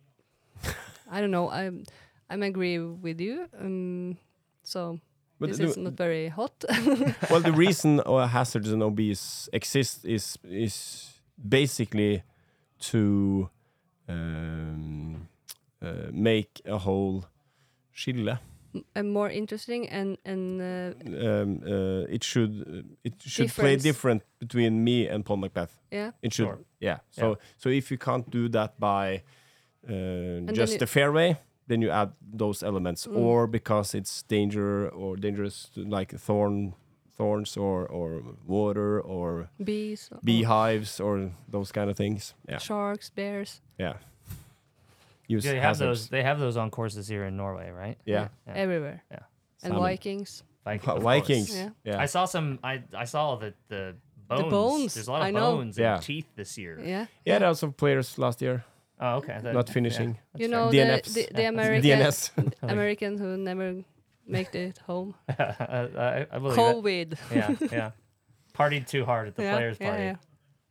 B: I don't know. I'm I'm agree with you. Um, so
A: But
B: this
A: the-
B: is not very hot. [LAUGHS]
A: well, the reason uh, Hazards and Obis exist is is basically to um, uh, make a whole skille.
B: and more interesting and and uh,
A: Um, uh, it should it should play
B: Difference.
A: different between me and Paul McBeth.
B: yeah.
A: It should,
C: Sure.
A: yeah. So
C: Yeah.
A: so if you can't do that by uh,
B: then
A: just
B: it-
A: the fairway, then you add those elements,
B: Mm.
A: or because it's danger or dangerous, to, like thorn, thorns or or water or
B: Bees, or
A: beehives or those kind of things. Yeah,
B: sharks, bears,
A: yeah. Use
C: They have those.
A: hazards.
C: They have those on courses here in Norway, right?
A: Yeah,
C: Yeah.
B: everywhere,
C: Yeah.
B: and
A: Salmon.
B: Vikings.
C: Viking,
A: [LAUGHS] Well,
C: of course.
A: Vikings.
B: Yeah.
A: Yeah.
C: I saw some. I I saw the the bones.
B: bones,
C: There's a lot of
B: I know.
C: bones
A: Yeah.
C: and teeth this year.
B: Yeah,
A: yeah, there are some players last year
C: Oh, okay. That-
A: not
C: yeah.
A: finishing.
C: That's
B: you
C: fair.
B: know the
A: DNFs.
B: the, the
C: Yeah.
A: [LAUGHS]
B: American
A: DNS.
B: American who never make it home.
C: [LAUGHS] I, I [LAUGHS] believe it.
B: COVID.
C: Yeah, yeah. Partied too hard at the
B: yeah,
C: players'
B: yeah,
C: party.
B: yeah.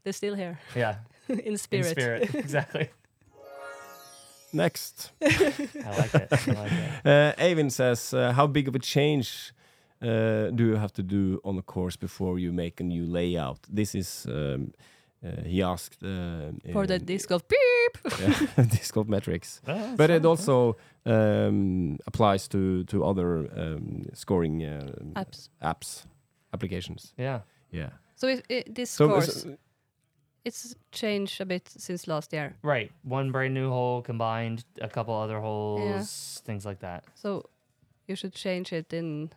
B: They're still here [LAUGHS]
C: Yeah,
B: in
C: in
B: spirit.
C: spirit.
B: [LAUGHS]
C: Exactly.
A: Next.
C: I like it. I like it.
A: Uh, Avin says, uh, "How big of a change uh, do you have to do on the course before you make a new layout?" This is um, uh, he asked uh,
B: For the
A: in-
B: disc of beep.
A: [LAUGHS] yeah, [LAUGHS] disc golf metrics,
C: Oh,
A: [LAUGHS]
C: that's
A: but
C: fine.
A: it also um, applies to to other um, scoring uh,
B: Apps.
A: apps applications.
C: Yeah.
A: Yeah.
B: So if it, this
A: So,
B: course,
A: so-
B: it's changed a bit since last year.
C: Right. One brand new hole combined, a couple other holes, things like that.
B: So you should change it in.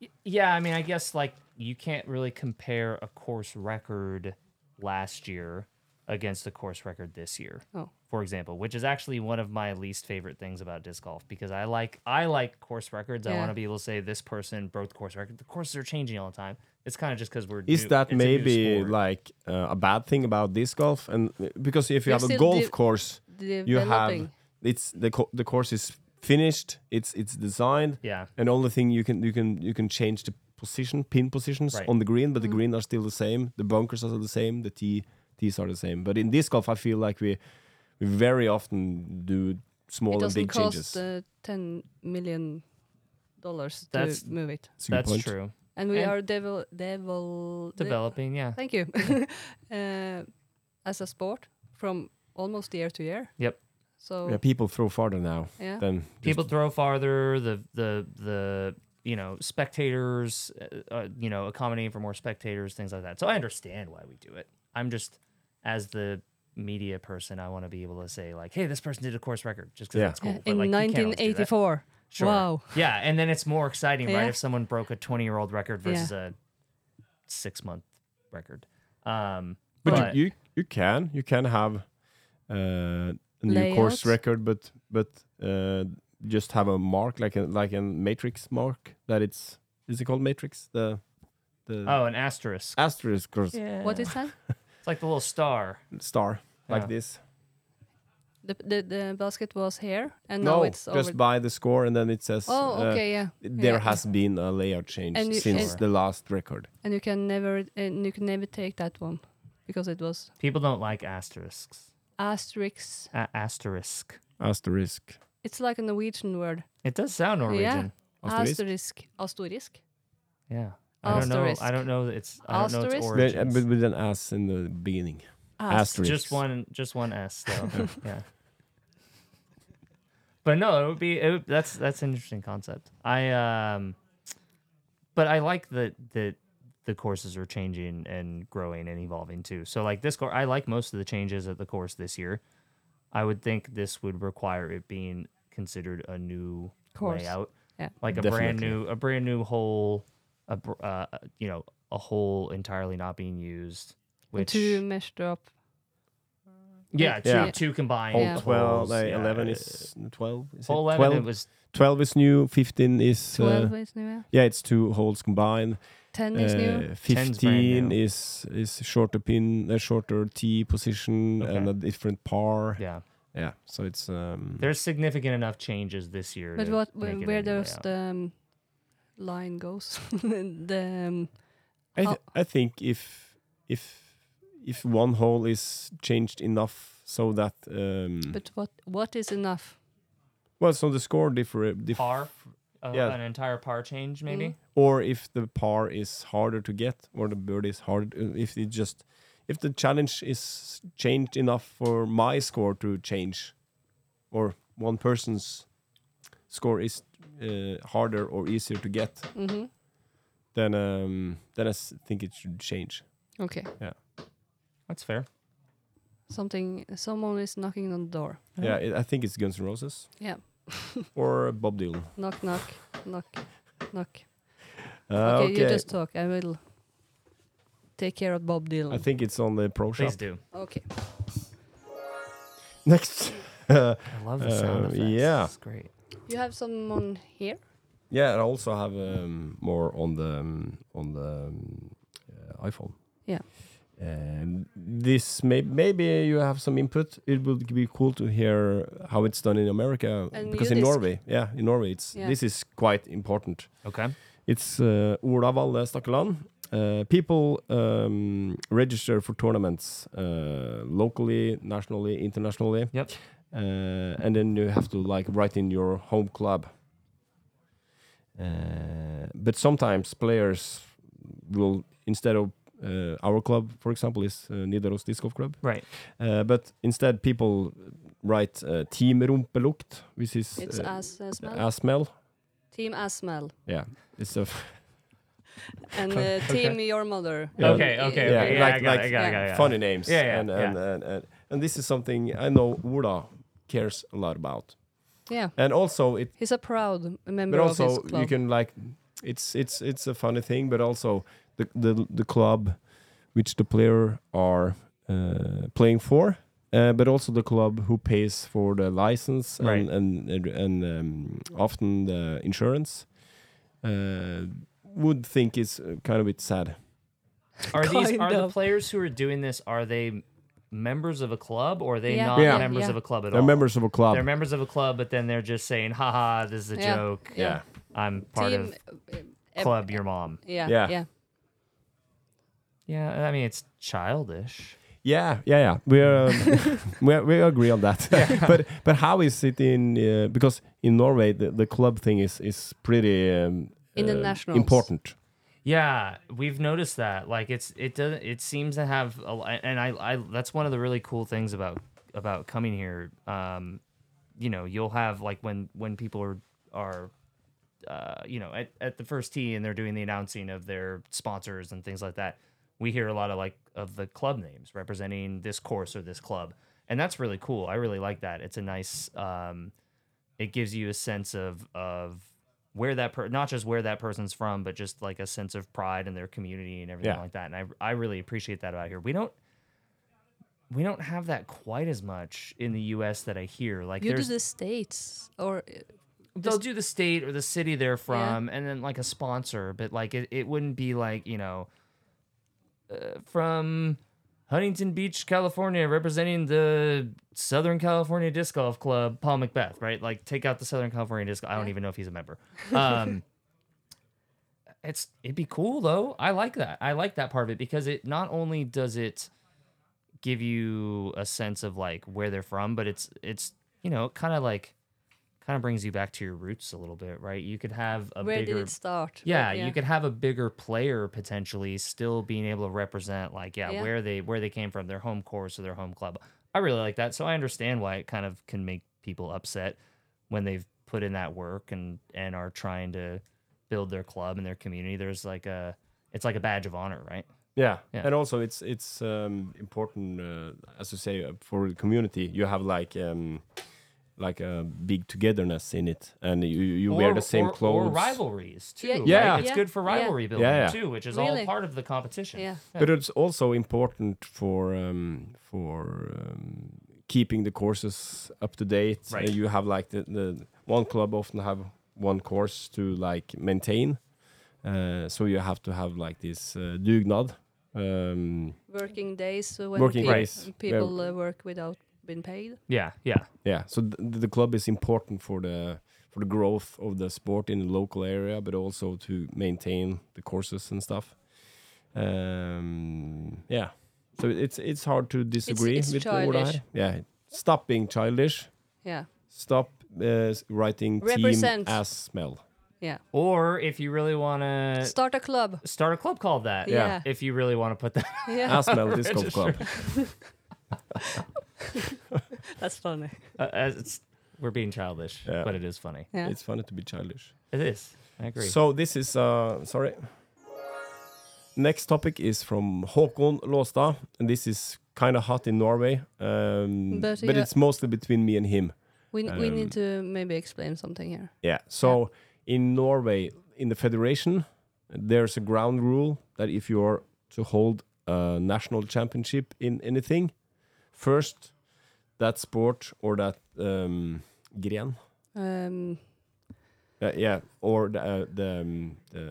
C: Y- Yeah, I mean, I guess like you can't really compare a course record last year against the course record this year.
B: Oh.
C: For example, which is actually one of my least favorite things about disc golf because I like I like course records. I
B: Yeah.
C: want to be able to say this person broke the course record. The courses are changing all the time. It's kind of just because we're
A: is
C: new-
A: that
C: it's a new
A: maybe
C: sport.
A: like uh, a bad thing about disc golf? And uh, because if you
B: You're
A: have a
B: still
A: golf
B: de-
A: course, you have
B: Developing.
A: it's the co- the course is finished it's it's designed
C: yeah
A: and only thing you can you can you can change the position pin positions
C: Right.
B: Mm-hmm.
A: on the green but the green are still the same the bunkers are still the same the tee these are the same. But in disc golf, I feel like we, we very often do
B: it
A: small and
B: doesn't
A: big
B: cost
A: changes.
B: Uh, 10 million dollars to
C: That's-
B: move it.
A: It's a good
C: That's
A: point.
C: true.
B: And we
C: And-
B: are devil, devil, de-
C: Developing, yeah.
B: thank you. [LAUGHS] uh, as a sport from almost year to year.
C: Yep.
B: So,
A: Yeah, people throw farther now
B: yeah.
A: than just-
C: people throw farther the the the you know spectators uh, uh, you know accommodating for more spectators things like that so i understand why we do it i'm just as the media person i want to be able to say like hey this person did a course record just because
A: Yeah.
C: that's cool
B: Yeah,
C: but,
B: in
C: like, you can't always do that.
B: 1984.
C: Sure.
B: Wow.
C: yeah and then it's more exciting
B: Yeah.
C: right if someone broke a 20 year old record
B: Yeah.
C: versus a six month record um
A: But,
C: but-
A: you, you you can you can have uh, a new course
B: Layout.
A: record, but but uh, just have a mark like a like a matrix mark that it's is it called matrix the the
C: oh an asterisk
A: asterisk or s-
C: yeah.
B: What is that?
C: it's like the little star
A: star like
C: Yeah.
A: this.
B: The, the, the basket was here and now
A: No,
B: it's
A: just
B: over.
A: by the score, and then it says
B: oh,
A: uh,
B: okay, yeah.
A: there
B: yeah.
A: has been a layout change
B: And you-
A: since
C: and-
A: the last record.
B: And you can never, and you can never take that one because it was
C: people don't like asterisks
B: asterisk.
C: a- asterisk
A: Asterisk.
B: It's like a Norwegian word.
C: it does sound norwegian
A: Asterisk.
B: Asterisk. Asterisk.
C: Yeah. I don't know. I
B: Asterisk.
C: don't know. that It's I don't know its
B: Asterisk?
A: But,
C: origins.
A: but with an S in the beginning.
B: Asterisk.
A: Asterisk.
C: just one, just one S [LAUGHS] though. yeah. But no, it would be. It would, that's that's an interesting concept. I um, but I like that that the courses are changing and growing and evolving too. So like this course, I like most of the changes at the course this year. I would think this would require it being considered a new
B: Course.
C: layout.
B: Yeah.
C: like a brand
A: Definitely.
C: new a brand new hole a br- uh, you know a hole entirely not being used
B: And
C: which
B: Two meshed up.
C: yeah two,
A: Yeah.
C: two combined
A: Hole
B: Yeah.
A: twelve,
C: holes,
A: like
C: yeah.
A: eleven is twelve. Is
C: hole
A: it?
C: 11
A: 12,
C: it was
A: 12 is new, 15 is. Uh,
B: 12 is new. yeah.
A: yeah, it's two holes combined.
B: 10 is new.
A: Uh,
C: 10's brand
A: 15
C: new.
A: is is shorter pin, a shorter tee position, and
C: Okay.
A: a different par. Yeah,
C: yeah
A: so it's. Um,
C: there's significant enough changes this year
B: But
C: to
B: what,
C: make it a
B: where
C: new
B: does
C: layout.
B: the um, line goes? [LAUGHS] the, um,
A: I, th-
B: how-
A: I think if if if one hole is changed enough so that um,
B: but what, what is enough?
A: well, so the score differ, dif-
C: par uh,
A: Yeah.
C: an entire par change maybe
B: Mm.
A: or if the par is harder to get or the birdie is hard uh, if it just if the challenge is changed enough for my score to change or one person's score is uh, harder or easier to get
B: hmm
A: then um then i s- think it should change
B: Okay.
C: that's fair
B: Something, someone is knocking on the door.
A: yeah it, i think it's guns N' roses
B: Uh-huh. Yeah. [LAUGHS]
A: or bob dylan
B: Knock, knock, knock, knock.
A: Uh,
B: Okay, you just talk. I will take care of Bob Dylan.
A: i think it's on the pro shop [LAUGHS]
C: please do
B: okay.
A: next
C: i love the sound
A: Uh,
C: effects
A: yeah.
C: it's great
B: You have someone here?
A: yeah and i also have um, more on the um, on the um, uh, iphone
B: Yeah.
A: Um, this may, maybe you have some input. It would be cool to hear how it's done in America
B: And
A: because in
B: Nordisk.
A: Norway, yeah, in Norway, it's
B: Yeah.
A: this is quite important.
C: okay
A: It's uh, Ola Valle Stakkeland. Uh, people um, register for tournaments uh, locally, nationally, internationally.
C: Yep.
A: Uh, and then you have to like write in your home club. Uh, but sometimes players will instead of uh, our club, for example, is uh, Nidaros Disc Golf Club.
C: right
A: Uh, but instead, people write uh, Team Rumpelukt, which is
B: It's
A: uh,
B: As uh, Smell.
A: a smell.
B: team As Smell.
A: Yeah, it's a [LAUGHS]
B: And uh, Team Your Mother.
A: Yeah.
C: okay okay
A: Yeah,
C: okay yeah,
A: like-
C: I got it,
A: like
C: I got it, I got it, I got
A: [LAUGHS]
C: it.
A: funny names.
C: Yeah, yeah,
A: and,
C: yeah.
A: And, and, and, and this is something I know Ola cares a lot about.
B: Yeah.
A: And also, it
B: He's a proud member
A: but also
B: of his club.
A: you can like it's it's it's a funny thing but also the the, the club which the player are uh, playing for uh, but also the club who pays for the license and
C: Right.
A: and and, and um, often the insurance uh, would think is uh, kind of a bit sad
C: Are these
B: Kind
C: are the
B: of.
C: players who are doing this? Are they m- members of a club or are they
B: Yeah.
C: not
A: Yeah.
C: members
B: Yeah.
C: of a club at
A: they're
C: all?
A: members of a club
C: They're members of a club, but then they're just saying, "Haha, this is a
B: Yeah.
C: joke.
A: yeah
C: I'm part
B: team,
C: of
B: uh, ev-
C: club. Your mom."
B: Yeah,
A: Yeah.
B: yeah.
C: Yeah, I mean it's childish.
A: Yeah, yeah, yeah. We are, [LAUGHS] um, we, we agree on that. [LAUGHS] but but how is it in uh, because in Norway the, the club thing is is pretty um,
B: In the
A: uh,
B: nationals.
A: important.
C: Yeah, we've noticed that. Like it's it doesn't it seems to have a, li- and I I that's one of the really cool things about about coming here. Um, you know, you'll have like when when people are are uh, you know, at, at the first tee and they're doing the announcing of their sponsors and things like that, we hear a lot of like of the club names representing this course or this club. And that's really cool. I really like that. It's a nice um it gives you a sense of of where that per- not just where that person's from, but just like a sense of pride in their community and everything
A: Yeah.
C: like that. And I I really appreciate that about here. We don't we don't have that quite as much in the U.S. that I hear. Like
B: you do
C: there's
B: the states or uh,
C: they'll do the state or the city they're from and then like a sponsor but like it, it wouldn't be like you know uh, from huntington beach california representing the southern california disc golf club paul macbeth right like take out the southern california disc i don't
B: Yeah.
C: even know if he's a member um it's it'd be cool though i like that i like that part of it because it not only does it give you a sense of like where they're from but it's it's you know kind of like kind of brings you back to your roots a little bit right you could have a
B: where
C: bigger
B: did it start? Or-
C: yeah, you could have a bigger player potentially still being able to represent like yeah,
B: Yeah.
C: where they where they came from, their home course or their home club. I really like that. So I understand why it kind of can make people upset when they've put in that work and and are trying to build their club and their community. There's like a it's like a badge of honor, right?
A: Yeah.
C: Yeah.
A: and also it's it's um, important uh, as you say uh, for the community. You have like um, like a big togetherness in it, and you you wear the same
C: or,
A: clothes.
C: Or rivalries too.
B: Yeah,
C: right?
A: Yeah.
C: It's
B: yeah,
C: good for
B: yeah.
C: rivalry building
A: yeah.
C: too, which is all
B: Really.
C: part of the competition.
B: Yeah.
A: But it's also important for um, for um, keeping the courses up to date.
C: Right.
A: Uh, you have like the, the one club often have one course to like maintain, uh, so you have to have like this uh, dugnad. Um,
B: working days uh, when
A: Working
B: people,
A: days, where-
B: people uh, work without being paid.
C: Yeah, yeah.
A: yeah, so th- the club is important for the for the growth of the sport in the local area, but also to maintain the courses and stuff. Um, yeah, so it's it's hard to disagree
B: it's
A: with Ola
B: childish.
A: here. Yeah, stop being childish.
B: Yeah,
A: Stop uh, s- writing
B: Represent.
A: team as
B: [LAUGHS]
A: smell.
B: yeah.
C: Or if you really
A: Uh,
C: wanna
B: Start a club.
C: start a club called that.
B: Yeah.
C: If you really want to put that
B: [LAUGHS] Yeah,
A: As smell disco club.
B: that's funny.
C: uh, as it's, we're being childish,
A: Yeah.
C: but it is funny.
B: Yeah.
A: It's funny to be childish.
C: It is. I agree.
A: So this is uh, sorry. Next topic is from Håkon Låstad, and this is kind of hot in Norway, um, but,
B: But yeah.
A: it's mostly between me and him.
B: We, we
A: Um,
B: need to maybe explain something here.
A: Yeah. So in Norway, in the federation, there's a ground rule that if you are to hold a national championship in anything, first that sport or that um, gren,
B: Um,
A: uh, yeah, or the uh, the, um, the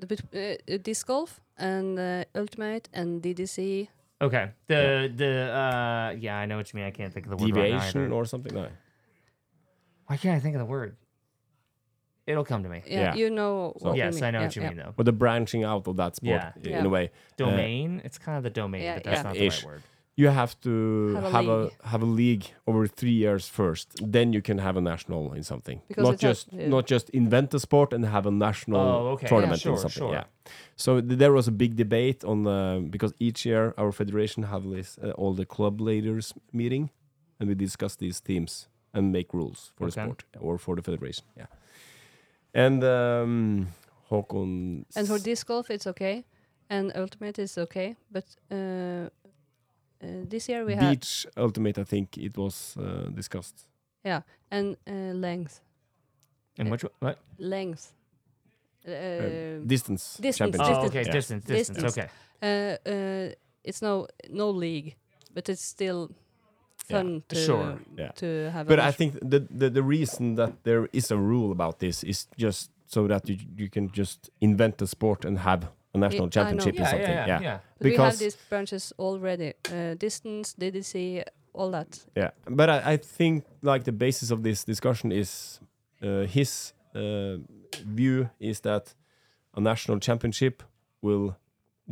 B: the bit, uh, uh, disc golf and uh, ultimate and DDC.
C: okay. The the uh yeah, I know what you mean. I can't think of the word right now
A: deviation
C: either.
A: or something. No.
C: Why can't I think of the word? It'll come to me.
B: Yeah,
A: Yeah.
B: you know.
A: So-
B: what we
C: yes,
B: mean.
C: I know
B: Yeah,
C: what you
B: yeah.
C: mean though.
A: or the branching out of that sport
C: Yeah.
A: i-
B: Yeah.
A: in a way.
C: Domain. it's kind of the domain,
B: Yeah,
C: but that's
B: yeah.
C: not the
A: Ish.
C: right word.
A: You have to
B: Have a
A: have a
B: league.
A: have a league over three years first. Then you can have a national in something.
B: Because
A: not
B: it has-
A: just
B: yeah.
A: not just invent a sport and have a national
C: Oh, okay. Yeah,
A: tournament in
C: sure,
A: something.
C: sure.
A: Yeah. So th- there was a big debate on uh, because each year our federation have this uh, all the club leaders meeting, and we discuss these themes and make rules for the
C: Okay.
A: sport or for the federation. Yeah. And um, Håkon
B: And for disc golf, it's okay, and ultimate is okay. But uh, uh, this year we had
A: Beach Ultimate, I think it was uh, discussed.
B: yeah, and uh, length,
C: And
B: Uh,
C: which one? What?
B: length.
A: Uh,
B: Uh,
A: distance,
B: distance,
A: championship.
C: Oh, okay.
A: Yeah.
C: Distance, distance.
B: Distance.
C: Okay.
B: uh, uh, it's no no league, but it's still
A: Yeah.
B: fun to
C: Ah, Sure,
A: yeah.
B: to have. a
A: But I
B: match.
A: think the, the the reason that there is a rule about this is just so that you you can just invent a sport and have a national
B: I know.
A: championship or
C: Yeah, yeah,
A: something.
C: yeah, yeah,
B: But we have
A: because-
B: these branches already: uh, distance, DDC, all that.
A: Yeah, but I, I think like the basis of this discussion is uh, his uh, view is that a national championship will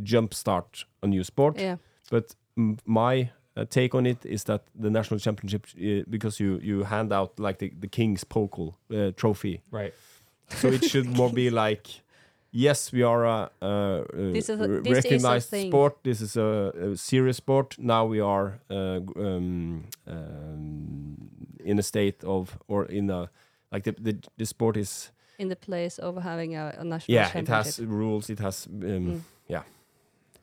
A: jumpstart a new sport,
B: Yeah,
A: but m- my uh, take on it is that the national championship uh, because you you hand out like the, the king's pokal uh, trophy,
C: Right.
A: so it
B: [LAUGHS]
A: should more be like. Yes, we are a, uh, uh,
B: This is a-
A: re-
B: this is a
A: recognized
B: thing.
A: sport. This is a, a serious sport. Now we are uh, g- um, um, in a state of, or in a, like the, the, the sport is
B: in the place of having a, a national
A: yeah it
B: championship.
A: has rules it has um,
B: Mm.
A: yeah.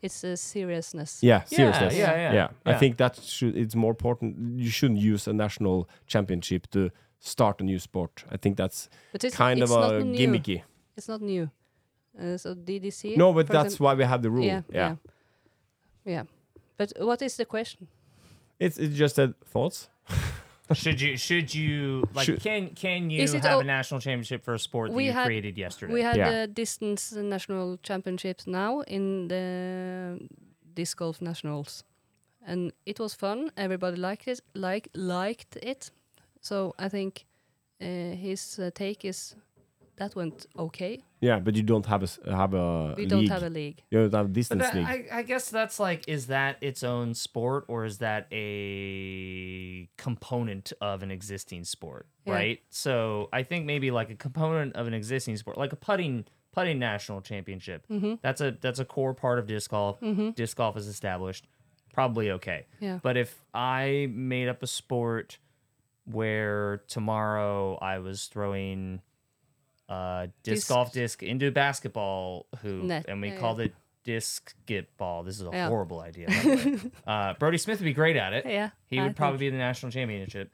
B: It's a seriousness.
A: yeah seriousness
C: Yeah, yeah,
A: yeah, i
C: yeah.
A: think that should it's more important you shouldn't use a national championship to start a new sport i think that's
B: But it's
A: kind
B: it's
A: of
B: not
A: a
B: new.
A: gimmicky
B: It's not new. Uh, so DDC.
A: no but
B: for
A: that's
B: example-
A: why we have the rule yeah,
B: yeah, yeah, yeah. But what is the question?
A: it's it's just that thoughts
C: Should you should you like
A: Should-
C: can can you
B: Is it
C: have
B: o-
C: a national championship for a sport that
B: We
C: you
B: had-
C: created yesterday?
B: We had
A: Yeah.
B: the distance national championships now in the disc golf nationals, and it was fun. Everybody liked it, like liked it. So I think uh, his uh, take is that went okay.
A: yeah but you don't have a s- have a
B: We
A: league
B: don't have a league.
A: you don't have a
C: But
A: distance
C: that-
A: league
C: I, I guess that's like, is that its own sport or is that a component of an existing sport?
B: Yeah.
C: Right. So I think maybe like a component of an existing sport, like a putting putting national championship.
B: Mm-hmm.
C: That's a that's a core part of disc golf. Disc golf is established. Probably okay.
B: Yeah.
C: But if I made up a sport where tomorrow I was throwing uh disc,
B: Disc.
C: golf disc into a basketball hoop
B: Net.
C: and we
B: Yeah, yeah.
C: called it disc get ball. This is a
B: Yeah.
C: horrible idea. by
B: [LAUGHS]
C: the way. uh, Brody Smith would be great at it.
B: Yeah,
C: he
B: I
C: would
B: think-
C: probably be in the national championship.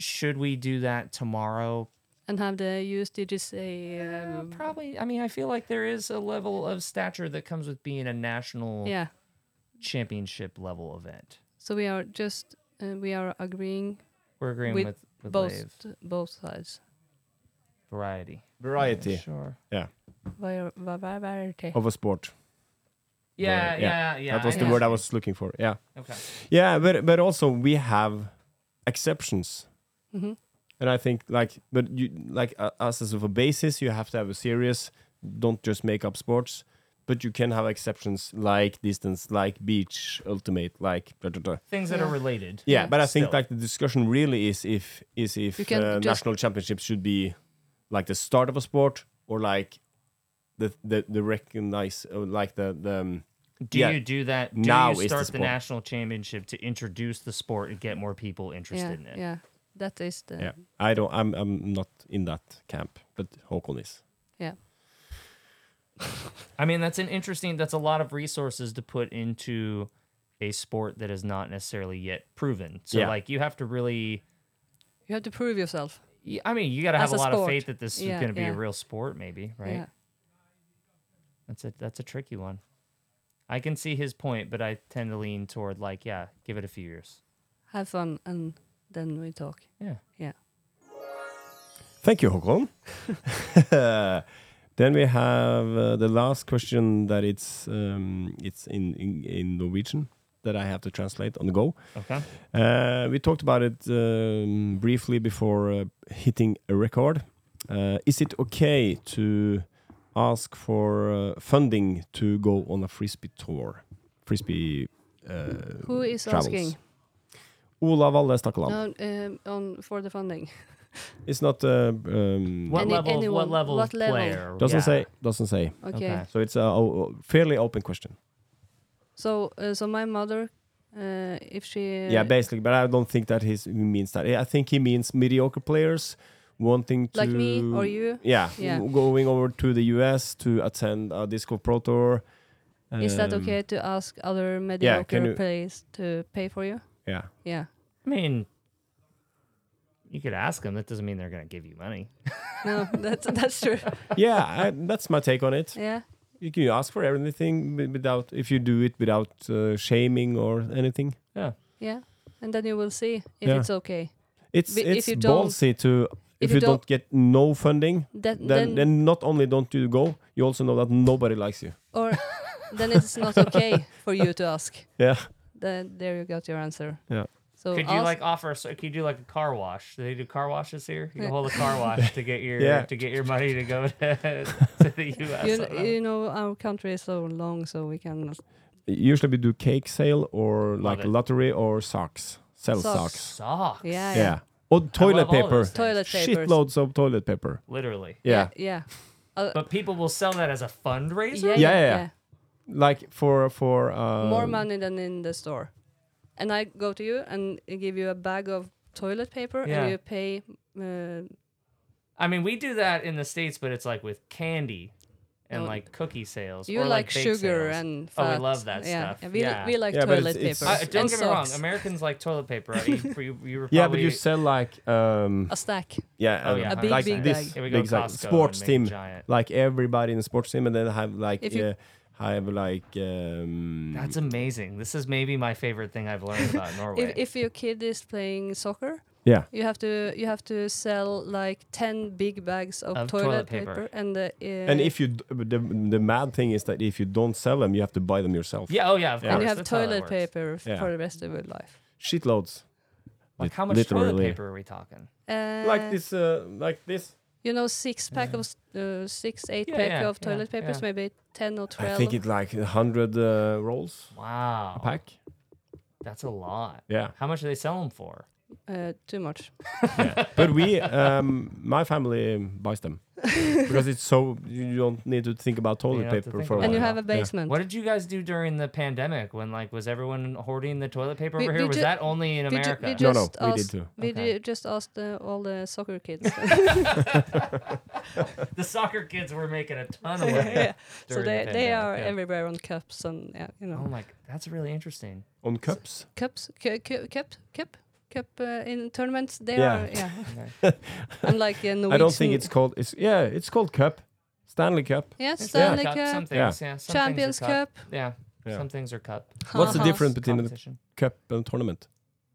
C: Should we do that tomorrow? Uh,
B: And have the USDGC. Um,
C: Probably. I mean, I feel like there is a level of stature that comes with being a national
B: yeah.
C: championship level event.
B: So we are just uh, we are agreeing
C: We're agreeing
B: With
C: with, with
B: both
C: Lave.
B: both sides.
C: variety.
A: variety
C: Yeah, sure.
A: yeah
B: Var- var- variety.
A: of a sport
C: Yeah,
A: Vari-
C: yeah, yeah.
A: that was
C: I
A: the
C: guess.
A: word i was looking for yeah
C: Okay.
A: Yeah, but but also we have exceptions,
B: Mhm.
A: and I think like but you like uh, us as of a basis, you have to have a serious. Don't just make up sports, but you can have exceptions like distance, like beach, ultimate, like blah, blah, blah.
C: Things that
B: Yeah.
C: are related.
A: yeah. But I think
C: Still.
A: like the discussion really is if is if
B: You can
A: uh,
B: just-
A: national championships should be like the start of a sport or like the the the recognize uh, like the the. um,
C: Do
A: yeah.
C: you do that? Do
A: Now
C: you
A: is the
C: start the,
A: sport.
C: national championship to introduce the sport and get more people
B: Yeah,
C: interested in it?
B: yeah. That is the
A: Yeah, I don't. I'm. I'm not in that camp, but Håkon is.
B: yeah.
C: I mean, that's an interesting. That's a lot of resources to put into a sport that is not necessarily yet proven. So,
A: Yeah.
C: like, you have to really.
B: You have to prove yourself.
C: y- I mean, you got to have
B: As
C: a
B: a
C: lot of
B: sport.
C: faith that this
B: Yeah,
C: is going to be a
B: yeah.
C: real sport, maybe, right?
B: Yeah.
C: That's a that's a tricky one. I can see his point, but I tend to lean toward like, yeah, give it a few years.
B: Have fun and then we talk.
C: Yeah.
B: Yeah.
A: Thank you, [LAUGHS] Håkon. then we have uh, the last question that it's um, it's in, in in Norwegian that I have to translate on the go.
C: Okay.
A: Uh, we talked about it um, briefly before uh, hitting a record. Uh, is it okay to ask for uh, funding to go on a frisbee tour? Frisbee. Uh,
B: Who is
A: travels.
B: asking?
A: Olav Valle Stakkeland.
B: No, um, on for the funding.
A: It's not. Uh, um,
C: What
B: Any-
C: level?
B: anyone,
C: What level?
B: what
C: of
B: level?
C: Player?
A: doesn't
C: Yeah.
A: say. Doesn't say.
B: Okay.
C: Okay.
A: So it's a o- o- fairly open question.
B: So uh, so my mother, uh, if she
A: yeah, basically, but I don't think that his, he means that. I think he means mediocre players wanting to
B: like me or you,
A: Yeah,
B: Yeah.
A: w- going over to the US to attend a disco pro tour.
B: is that
A: Um,
B: okay to ask other mediocre
A: you-
B: players to pay for you?
A: Yeah.
B: Yeah.
C: I mean, you could ask them. That doesn't mean they're going to give you money.
B: No, [LAUGHS] that's that's true.
A: Yeah, I, that's my take on it.
B: Yeah.
A: You can ask for everything wi- without if you do it without uh, shaming or anything.
C: Yeah.
B: Yeah. And then you will see if
A: Yeah.
B: it's okay.
A: It's
B: But if
A: it's
B: you don't-
A: ballsy to if,
B: you
A: you
B: don't-
A: don't get no funding,
B: That
A: then, then not only don't you go, you also know that nobody likes you.
B: or [LAUGHS] then it's not okay for you to ask.
A: Yeah.
B: Then there you got your answer.
A: Yeah.
B: So
C: could you
B: ask-
C: like offer? So could you do like a car wash? Do they do car washes here? You
B: Yeah.
C: can hold a car wash to get your
A: Yeah.
C: to get your money to go [LAUGHS] to, to the U.S.
B: you,
C: I don't know.
B: you know our country is so long, so we cannot
A: Usually we do cake sale or like
C: it.
A: lottery or socks. Sell
B: Socks.
A: socks.
C: Socks.
B: Yeah,
A: Yeah. Or toilet
C: love all
A: paper.
C: those things.
B: Toilet papers.
A: Shitloads of toilet paper.
C: Literally.
A: Yeah.
B: yeah,
C: But people will sell that as a fundraiser?
B: yeah, yeah,
A: Yeah, yeah,
B: yeah.
A: yeah. Like for for uh,
B: More money than in the store. And I go to you and I give you a bag of toilet paper,
C: Yeah.
B: and you pay. Uh,
C: I mean, we do that in the states, but it's like with candy and
B: No.
C: like cookie sales.
B: you
C: or,
B: like,
C: bake
B: sugar
C: sales.
B: and
C: Oh, we
B: fat.
C: love that
B: yeah.
C: stuff.
B: And we,
C: Yeah.
B: we like
A: Yeah, but
B: toilet
A: it's- it's-
B: paper.
C: I, don't
B: and
C: get me wrong.
B: socks.
C: Americans like toilet
B: [LAUGHS]
C: paper. You, you, you were probably,
A: Yeah, but you sell like um
B: A stack.
A: yeah,
C: oh,
A: um,
C: yeah,
B: A big,
A: like
B: big
C: 100%.
A: this
C: Here we go,
A: big size.
C: Costco and
A: sports
C: make
A: team,
C: Giant.
A: like everybody in the sports team, and then have like
B: If you-
A: uh, have like um
C: That's amazing. This is maybe my favorite thing I've learned about Norway.
B: [LAUGHS] If, if your kid is playing soccer,
A: yeah
B: you have to you have to sell like ten big bags of,
C: Of
B: toilet,
C: toilet
B: paper.
C: paper.
B: and the uh,
A: And if you d- the the mad thing is that if you don't sell them, you have to buy them yourself.
C: yeah, oh yeah, of
A: And
B: and
C: course.
B: you have
C: that's how that
B: toilet
C: works.
B: paper f-
A: Yeah.
B: for the rest of your life.
A: Shitloads.
C: Like
A: Lit-
C: how much toilet
A: literally.
C: paper are we talking?
B: Uh,
A: Like this, uh, like this.
B: you know, six pack of s- uh, six, eight
C: Yeah,
B: pack
C: yeah,
B: of toilet
C: yeah,
B: papers,
C: yeah.
B: maybe ten or twelve.
A: I think it's like hundred uh, rolls
C: Wow,
A: a pack.
C: that's a lot.
A: Yeah,
C: How much do they sell them for?
B: uh, too much.
A: but we, um, my family um, buys
B: [LAUGHS]
A: them because it's so you don't need to think about
C: don't
A: toilet
C: have to
A: paper
C: think
A: for a
C: about
A: while.
C: it.
B: and you
C: wow.
B: have a
A: Oh, Yeah.
B: basement.
C: What did you guys do during the pandemic when like was everyone hoarding the toilet paper
B: We-
C: over
B: we
C: here? Was
B: ju-
C: that only in
B: we, ju-
C: America?
B: we
A: No,
B: just
A: no, we did
B: asked,
A: too.
B: we
C: Okay.
B: ju- just asked uh, all the soccer kids. [LAUGHS]
C: [LAUGHS] the soccer kids were making a ton of money.
B: [LAUGHS] yeah. So
C: during the
B: they, they
C: pandemic,
B: are
C: yeah.
B: everywhere on cups and yeah, you know
C: Oh my, that's really interesting.
A: on cups.
B: cups, cu- cu- cup, cup, cup uh, in tournaments. They
A: Yeah.
B: are
C: [LAUGHS]
B: yeah. and like uh, Norwegian.
A: I don't think it's called. It's yeah, it's called cup, Stanley Cup.
B: yeah
A: Stanley
B: Stanley
C: Cup,
B: Cup,
C: some things, yeah. some things are
B: uh, Champions Cup,
C: Yeah,
A: Yeah.
C: some things are cup.
A: What's the
B: Ha-has.
A: difference between a
C: competition.
A: cup and tournament?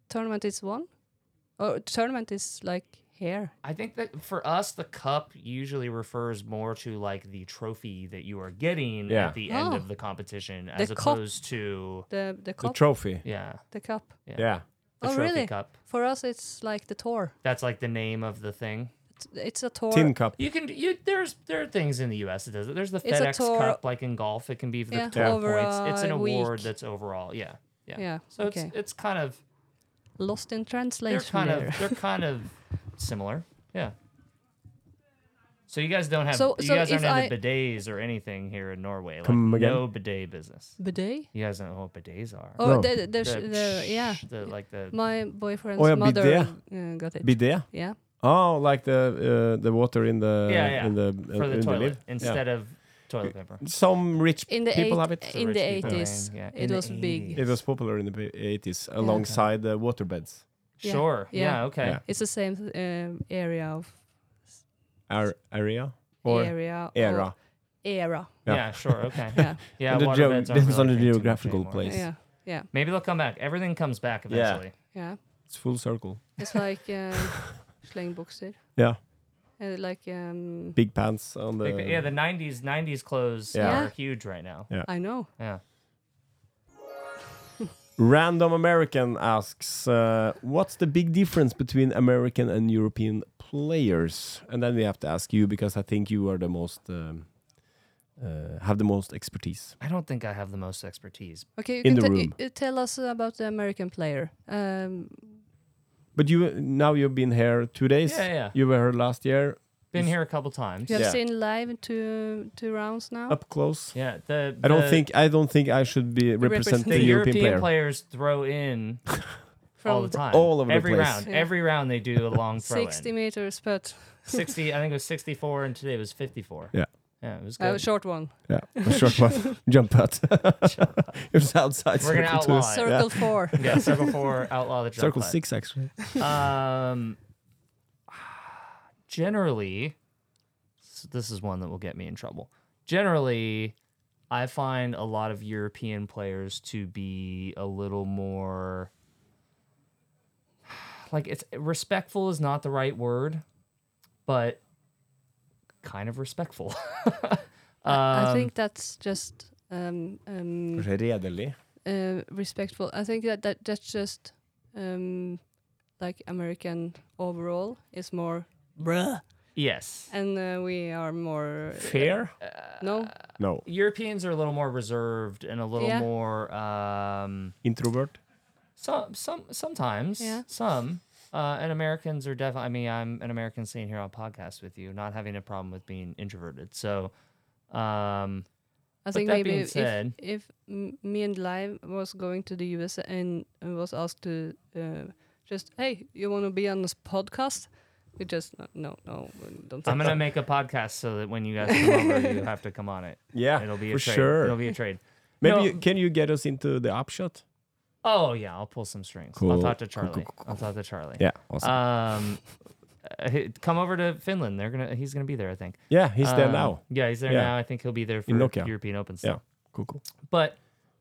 B: Tournament is one, or tournament is like here.
C: I think that for us, the cup usually refers more to like the trophy that you are getting
A: Yeah.
C: at the end
B: Oh.
C: of the competition, as
B: cup.
C: opposed to
B: The the
A: The
B: cup,
A: trophy.
C: yeah,
B: the cup.
C: Yeah.
A: Yeah,
C: the
B: Oh,
C: trophy
B: really?
C: cup.
B: For us, it's like the tour.
C: That's like the name of the thing.
B: It's, it's a tour.
A: tin cup.
C: You can you there's there are things in the U.S. that does it. There's the
B: It's a
C: FedEx
B: tour-
C: Cup, like in golf, it can be the
B: Yeah,
C: tour
B: over
C: points. It's an
B: a
C: award
B: week.
C: that's overall, yeah, yeah.
B: Yeah,
C: So
B: okay.
C: it's it's kind of
B: Lost in translation.
C: they're kind
B: there.
C: of they're kind of similar, yeah. So you guys don't have
B: So-
C: you
B: so
C: guys aren't
B: if
C: into bidets or anything here in Norway. Like
A: Come again?
C: no bidet business.
B: bidet.
C: You guys don't know what bidets are.
B: Oh,
A: No.
B: the, the, the, sh-
C: The
B: the- yeah.
C: psh, the- like the
B: My boyfriend's
A: Oh, yeah,
B: mother uh, got it.
A: Bidet.
B: yeah.
A: Oh, like the uh, the water in the
C: Yeah, yeah.
A: in the
C: for the
A: in the
C: toilet
A: live. Yeah.
C: instead of toilet paper.
A: Some rich
B: In the
A: people
B: eight-
A: have it.
C: So
B: in
C: rich
B: the
C: people are
B: 80s,
C: wearing- yeah,
B: it
C: in the
B: was big.
A: It was popular in the p- 80s alongside the waterbeds.
B: Yeah.
C: Sure.
B: Yeah.
C: Yeah. okay.
A: Yeah.
B: It's the same um, area of
A: Our area or
B: area. or
A: era.
B: era.
A: Yeah.
C: Yeah. sure. Okay.
B: [LAUGHS] Yeah.
C: Yeah.
A: And the
C: waterbeds
A: geo-
C: aren't
A: depends on
C: really
A: the
C: big too much
A: geographical
C: anymore.
A: place. Yes.
B: Yeah. Yeah.
C: Maybe they'll come back. Everything comes back
A: Yeah.
C: eventually.
B: Yeah.
A: It's full circle.
B: It's like um, [LAUGHS] slengbukser.
A: Yeah.
B: Uh, like um,
A: Big pants on the.
C: Like, Yeah. the '90s '90s clothes
A: Yeah.
C: are huge right now.
A: Yeah.
B: I know.
C: Yeah.
A: Random American asks, uh, what's the big difference between American and European players? And then we have to ask you because I think you are the most. Um, uh, have the most expertise.
C: I don't think I have the most expertise.
B: Okay, you
A: In
B: can
A: the
B: te-
A: room.
B: you- you tell us about the American player. Um,
A: But you now you've been here two days.
C: Yeah, yeah.
A: You were here last year,
C: Been
A: Is-
C: here a couple times.
B: you
A: Yeah.
B: have seen live two two rounds now.
A: up close.
C: Yeah. The,
A: I don't
C: the-
A: think I don't think I should be represent
B: represent-
A: the
C: the
A: European, player.
C: players throw in all the time.
A: all over the
C: every
A: place.
C: round.
B: Yeah.
C: Every round they do a
B: [LAUGHS]
C: long throw
B: sixty meters, but
C: in. 60 I think it was 64 and today it was 54.
A: Yeah.
C: Yeah, it
B: a
C: was good.
B: uh, short one.
A: Yeah, a short one. [LAUGHS] Jump putt. it's outside
C: We're gonna
A: circle two.
C: outlaw it.
B: Circle four.
C: [LAUGHS] yeah, circle 4 outlaw the jump
A: Circle
C: putt.
A: six, actually.
C: Um, generally, s- this is one that will get me in trouble. Generally, I find a lot of European players to be a little more like it's respectful is not the right word, but kind of respectful. [LAUGHS]
B: I I
C: Um,
B: think that's just um, um,
A: Redelig.
B: uh, respectful. I think that, that that's just um, like American overall is more bruh
C: Yes.
B: and uh, we are more
A: Fair?
B: no
A: No.
C: Europeans are a little more reserved and a little
B: Yeah.
C: more um
A: Introvert?
C: some some sometimes
B: Yeah.
C: some uh, and Americans are definitely. I mean, I'm an American sitting here on podcast with you, not having a problem with being introverted. So,
B: I
C: um, But
B: think
C: that
B: maybe
C: being
B: if,
C: said-
B: if m- me and Live was going to the US and and was asked to uh, just, hey, you want to be on this podcast? We just, no, no, no don't say
C: I'm gonna make a podcast so that when you guys come over,
A: [LAUGHS]
C: you have to come on it.
A: Yeah,
C: It'll be
A: for
C: a trade.
A: sure.
C: It'll be a trade.
A: Maybe
C: No.
A: you, can you get us into the upshot?
C: Oh yeah, I'll pull some strings. I'll
A: Cool.
C: talk to
A: Cool, cool,
C: Charlie.
A: cool,
C: I'll talk to Charlie.
A: Yeah, awesome.
C: Um, uh, h- come over to Finland. They're gonna. He's gonna be there. I think.
A: yeah, he's there
C: Um,
A: now.
C: Yeah, he's there
A: Yeah.
C: now. I think he'll be there for
A: In Nokia.
C: European Open stuff.
A: Yeah, cool, cool.
C: But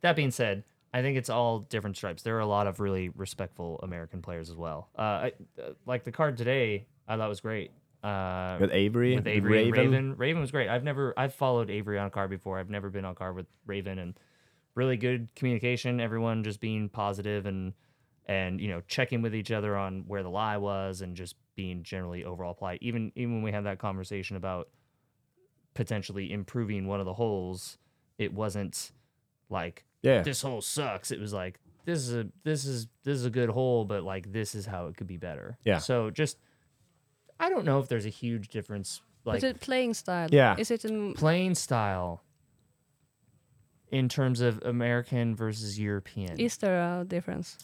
C: that being said, I think it's all different stripes. There are a lot of really respectful American players as well. Uh, I, uh, like the card today, I thought was great. Uh,
A: With Avery,
C: with Avery and Raven. Raven. was great. I've never I've followed Avery on a card before. I've never been on a card with Raven and really good communication. Everyone just being positive and and you know checking with each other on where the lie was and just being generally overall polite. Even even when we had that conversation about potentially improving one of the holes, it wasn't like
A: Yeah,
C: this hole sucks. It was like this is a this is this is a good hole, but like this is how it could be better.
A: Yeah.
C: So just I don't know if there's a huge difference like
B: Is it playing style?
A: Yeah.
B: Is it in,
C: playing style in terms of American versus European.
B: is there a uh, difference?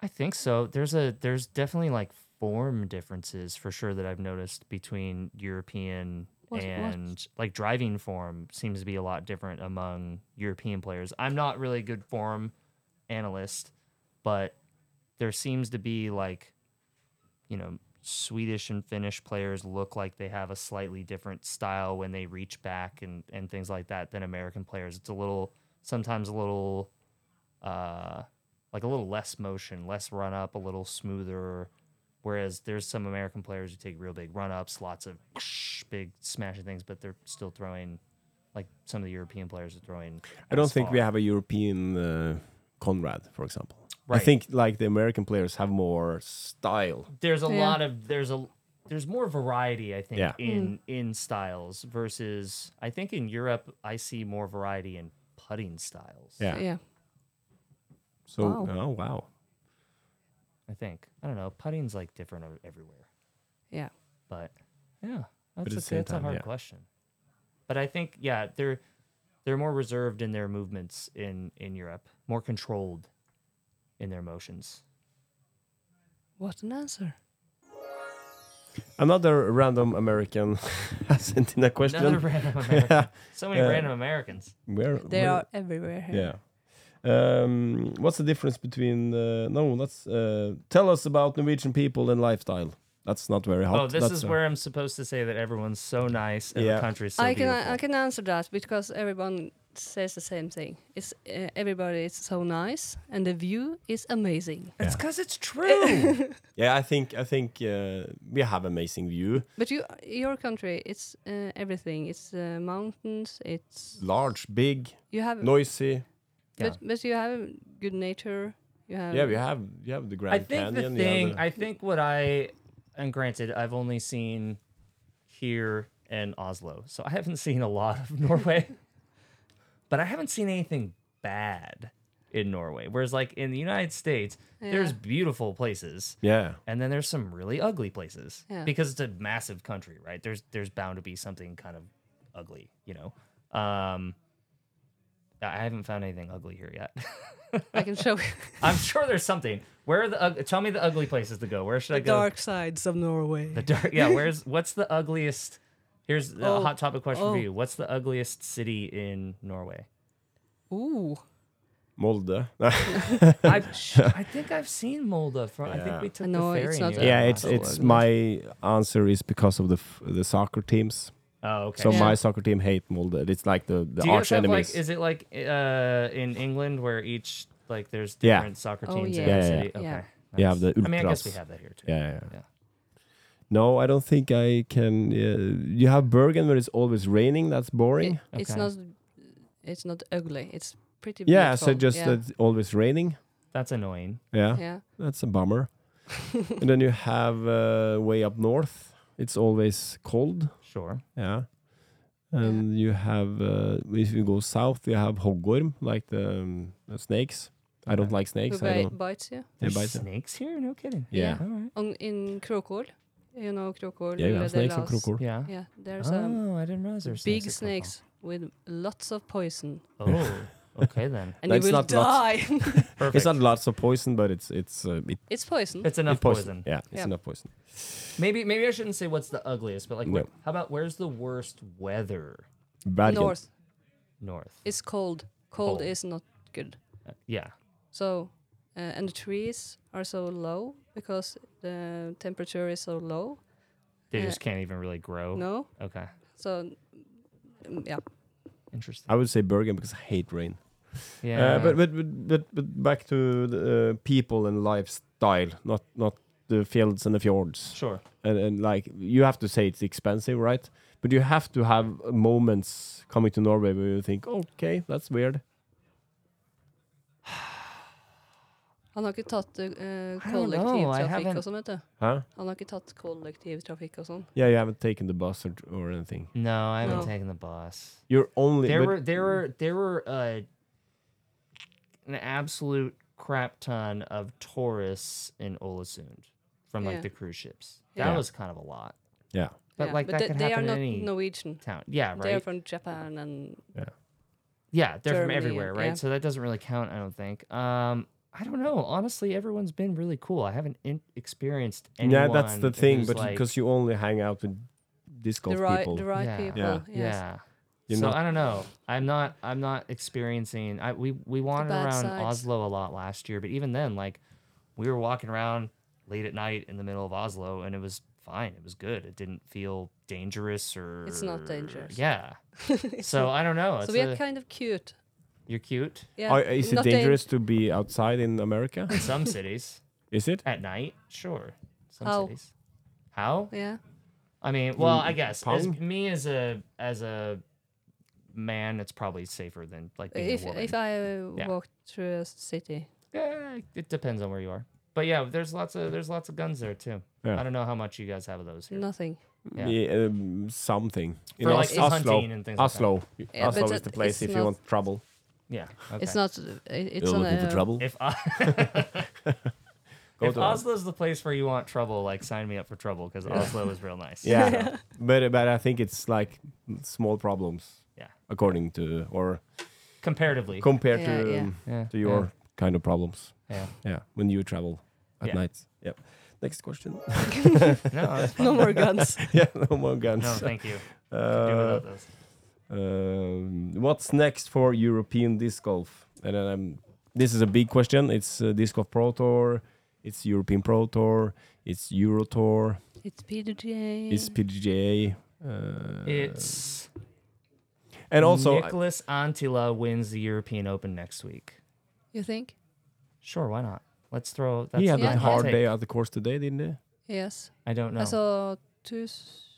C: I think so. There's a there's definitely like form differences for sure that I've noticed between European
B: What- what?
C: and like driving form seems to be a lot different among European players. I'm not really a good form analyst, but there seems to be like you know, Swedish and Finnish players look like they have a slightly different style when they reach back and and things like that than American players. It's a little sometimes a little uh, like a little less motion, less run up, a little smoother. Whereas there's some American players who take real big run ups, lots of big smashing things, but they're still throwing like some of the European players are throwing.
A: I don't
C: as
A: think we
C: far.
A: have a European uh, Conrad, for example.
C: Right.
A: I think like the American players have more style.
C: There's a
B: Yeah. Hmm.
C: lot of there's a there's more variety, I think,
A: Yeah.
C: in in styles versus I think in Europe I see more variety in putting styles.
A: Yeah.
B: Yeah.
A: So
B: Wow.
A: oh wow,
C: I think I don't know. Putting's like different o- everywhere.
B: Yeah.
C: but yeah,
A: at
C: that's,
A: the
C: a,
A: same
C: that's a
A: time,
C: hard
A: yeah.
C: question. But I think yeah, they're they're more reserved in their movements in in Europe, more controlled in their motions.
B: What an answer.
A: another random American [LAUGHS] sent in a question.
C: Another random American.
A: [LAUGHS] yeah,
C: So many
A: Uh,
C: random Americans.
A: where
B: They
A: where-
B: are everywhere here.
A: Yeah. Um, what's the difference between uh, no? That's uh, tell us about Norwegian people and lifestyle. That's not very hot.
C: Oh, this
A: That's,
C: is
A: uh,
C: where I'm supposed to say that everyone's so nice and
A: Yeah.
C: the country's so
B: I can
C: beautiful.
B: I, can answer that because everyone says the same thing. It's uh, everybody is so nice and the view is amazing.
C: It's because it's true.
A: Yeah, I think I think uh, we have amazing view,
B: But you your country it's uh, everything. It's uh, mountains, it's
A: large, big,
B: you have
A: noisy.
B: But but you have good nature. You have
A: Yeah, we have you have the Grand
C: I think
A: Canyon.
C: the
A: you have
C: thing.
A: the-
C: I think what I, and granted, I've only seen here and Oslo, so I haven't seen a lot of [LAUGHS] Norway. but I haven't seen anything bad in Norway. Whereas, like in the United States, there's
B: Yeah.
C: beautiful places,
A: yeah,
C: and then there's some really ugly places
B: Yeah.
C: because it's a massive country, right? There's there's bound to be something kind of ugly, you know. Um, I haven't found anything ugly here yet. [LAUGHS]
B: I can
A: [LAUGHS]
B: show you
C: I'm sure there's something. Where are the ug- tell me the ugly places to go? Where should I go?
B: sides of Norway.
C: The dark. Yeah. Where's what's the ugliest? Here's a
B: Oh,
C: hot topic question
B: oh.
C: for you. What's the ugliest city in Norway?
B: Ooh.
A: Molde.
C: [LAUGHS] I I think I've seen Molde from. I
A: Yeah.
C: think we took
B: No,
C: the
B: it's
C: ferry.
B: not
C: near
B: that
A: [LAUGHS] yeah,
C: it.
A: it's it's my answer is because of the f- the soccer teams.
C: Oh, okay.
A: So
B: Yeah.
A: my soccer team hate Molde. It's like the the
C: Do you
A: arch
C: guys have
A: enemies.
C: like? Is it like uh in England where each like there's
A: Yeah.
C: different soccer
B: Oh,
C: teams
B: yeah.
C: in
A: Yeah,
C: the
A: yeah,
C: city?
B: yeah.
C: Okay.
B: Yeah.
A: You have
C: nice.
A: the
C: I mean, I guess we
A: ultras.
C: have that here too.
A: yeah, yeah.
C: Yeah.
A: No, I don't think I can. Uh, you have Bergen where it's always raining. That's boring.
B: It- It's
C: Okay.
B: not it's not ugly. It's pretty
A: yeah,
B: beautiful.
A: so just
B: yeah.
A: that it's always raining.
C: That's annoying.
A: Yeah,
B: yeah. [LAUGHS]
A: that's a bummer. and then you have uh, way up north. It's always cold.
C: Sure.
A: Yeah. And you have, uh, if you go south, you have hogworm, like the, um, the snakes. I don't
C: Okay.
A: like
B: who
A: snakes. I
B: bi-
A: don't.
B: bites you.
A: They
C: There's
A: bite them.
C: snakes here? No kidding.
A: Yeah.
C: All right.
B: On, in Krokol, you know
A: Yeah,
B: Krokol.
A: you
B: where
A: have
B: they
A: snakes and
B: last-
A: crocodile. Ah.
C: Yeah.
B: Yeah, there's um,
C: Oh, I didn't realize there's
B: big
C: snakes.
B: snakes with lots of poison,
C: at Coco. [LAUGHS] Oh, okay then.
B: and
A: That's
B: you will
A: not lots.
B: die. [LAUGHS]
C: Perfect.
A: It's not lots of poison, but it's it's uh, it,
B: it's poison.
C: It's enough
A: it poison.
C: poison.
A: Yeah, it's
B: Yeah.
A: enough poison.
C: Maybe maybe I shouldn't say what's the ugliest, but like,
A: No.
C: wh- how about where's the worst weather
A: Bergen.
B: North.
C: north?
B: It's cold. Cold
C: Cold.
B: is not good.
C: Uh, yeah.
B: So, uh, and the trees are so low because the temperature is so low.
C: They
B: Yeah.
C: just can't even really grow.
B: No,
C: Okay.
B: so mm, yeah,
C: Interesting.
A: I would say Bergen because I hate rain.
C: Yeah.
A: Uh, but, but but but but back to the, uh, people and lifestyle, not not the fields and the fjords.
C: sure.
A: And, and like you have to say it's expensive, right? But you have to have moments coming to Norway where you think, okay, that's weird.
B: han har ikke tatt uh,
C: I don't know, I
B: kollektivtrafikk
C: haven't-
B: og sånn, vet du.
A: Huh?
B: Han har ikke tatt kollektivtrafikk og sånn.
A: Yeah, you haven't taken the bus or, or anything.
C: No, I haven't
B: No.
C: taken the bus.
A: You're only
C: There
A: but
C: were there were there were uh, an absolute crap ton of tourists in Olesund from like
B: Yeah.
C: the cruise ships. That
A: Yeah.
C: was kind of a lot.
A: yeah.
C: But
B: Yeah,
C: like that
B: they,
C: could
B: they are
C: happen
B: not
C: in any
B: Norwegian.
C: town. Yeah, right.
B: They are from Japan and
C: yeah, they're from
B: Germany
C: everywhere,
B: and-
C: right?
B: yeah.
C: So that doesn't really count, I don't think. Um, I don't know. Honestly, everyone's been really cool. I haven't in- experienced anyone.
A: yeah, that's the thing.
C: who's,
A: But
C: like-
A: because you only hang out with disc golf
B: the right,
A: people,
B: the right
C: Yeah.
B: people.
A: Yeah.
B: Yes.
C: Yeah.
A: You're
C: so
A: not-
C: I don't know. I'm not. I'm not experiencing. I we we wandered
B: bad
C: around
B: sides.
C: Oslo a lot last year, but even then, like, we were walking around late at night in the middle of Oslo, and it was fine. It was good. It didn't feel dangerous or.
B: It's not dangerous.
C: Yeah.
B: [LAUGHS]
C: so I don't know. It's
B: So we are
C: a-
B: kind of cute.
C: you're cute.
B: Yeah.
A: Are- is it
B: not dan-
A: dangerous to be outside in America?
C: In some cities
A: is it?
C: at night, sure. Some
B: How?
C: cities. How?
B: Yeah.
C: I
A: Mm,
C: mean, well, I guess as
A: pound?
C: me as a as a man, it's probably safer than like being
B: If
C: a woman.
B: if I
C: Yeah.
B: walked through a city,
C: Yeah, it depends on where you are. But yeah, there's lots of there's lots of guns there too.
A: Yeah.
C: I don't know how much you guys have of those here.
B: nothing.
C: Yeah.
A: Yeah, um, something. In
C: For
A: Os-
C: like
A: Oslo,
C: hunting and things like that.
A: Oslo.
B: Yeah,
A: Oslo
B: but
A: is the
B: it-
A: place
B: it's
A: if you
B: not-
A: want trouble.
C: Yeah. Okay.
B: It's not. uh, It's on a,
C: if I,
A: Go [LAUGHS]
C: if
A: to
C: Oslo's the place where you want trouble, like sign me up for trouble because Oslo is real nice.
A: [LAUGHS] Yeah,
C: [LAUGHS]
B: [LAUGHS]
A: but but I think it's like small problems
C: Yeah.
A: according to or
C: Comparatively.
A: compared
B: Yeah,
A: to
B: yeah.
A: um,
C: yeah.
A: to your kind of problems.
C: Yeah.
A: Yeah, when you travel at
C: Yeah.
A: night. Yep. Next
C: [LAUGHS]
A: question.
C: yeah. No,
A: [LAUGHS]
C: that's
B: [LAUGHS]
C: fine.
B: No more guns.
A: yeah, [LAUGHS] no more guns.
C: no, thank you. Do
A: Uh,
C: without those.
A: um, what's next for European disc golf? And then um, this is a big question. It's uh, disc golf Pro Tour. It's European Pro Tour. It's Euro Tour.
B: It's PWGA.
A: It's PGA. Uh,
C: It's
A: and also
C: Nicholas Antila wins the European Open next week.
B: you think?
C: Sure, why not? Let's throw. That's
A: he had
B: Yeah,
A: a
B: yeah.
C: my
A: hard
C: take.
A: day at the course today, didn't he?
B: Yes.
C: I don't know.
B: I saw two s-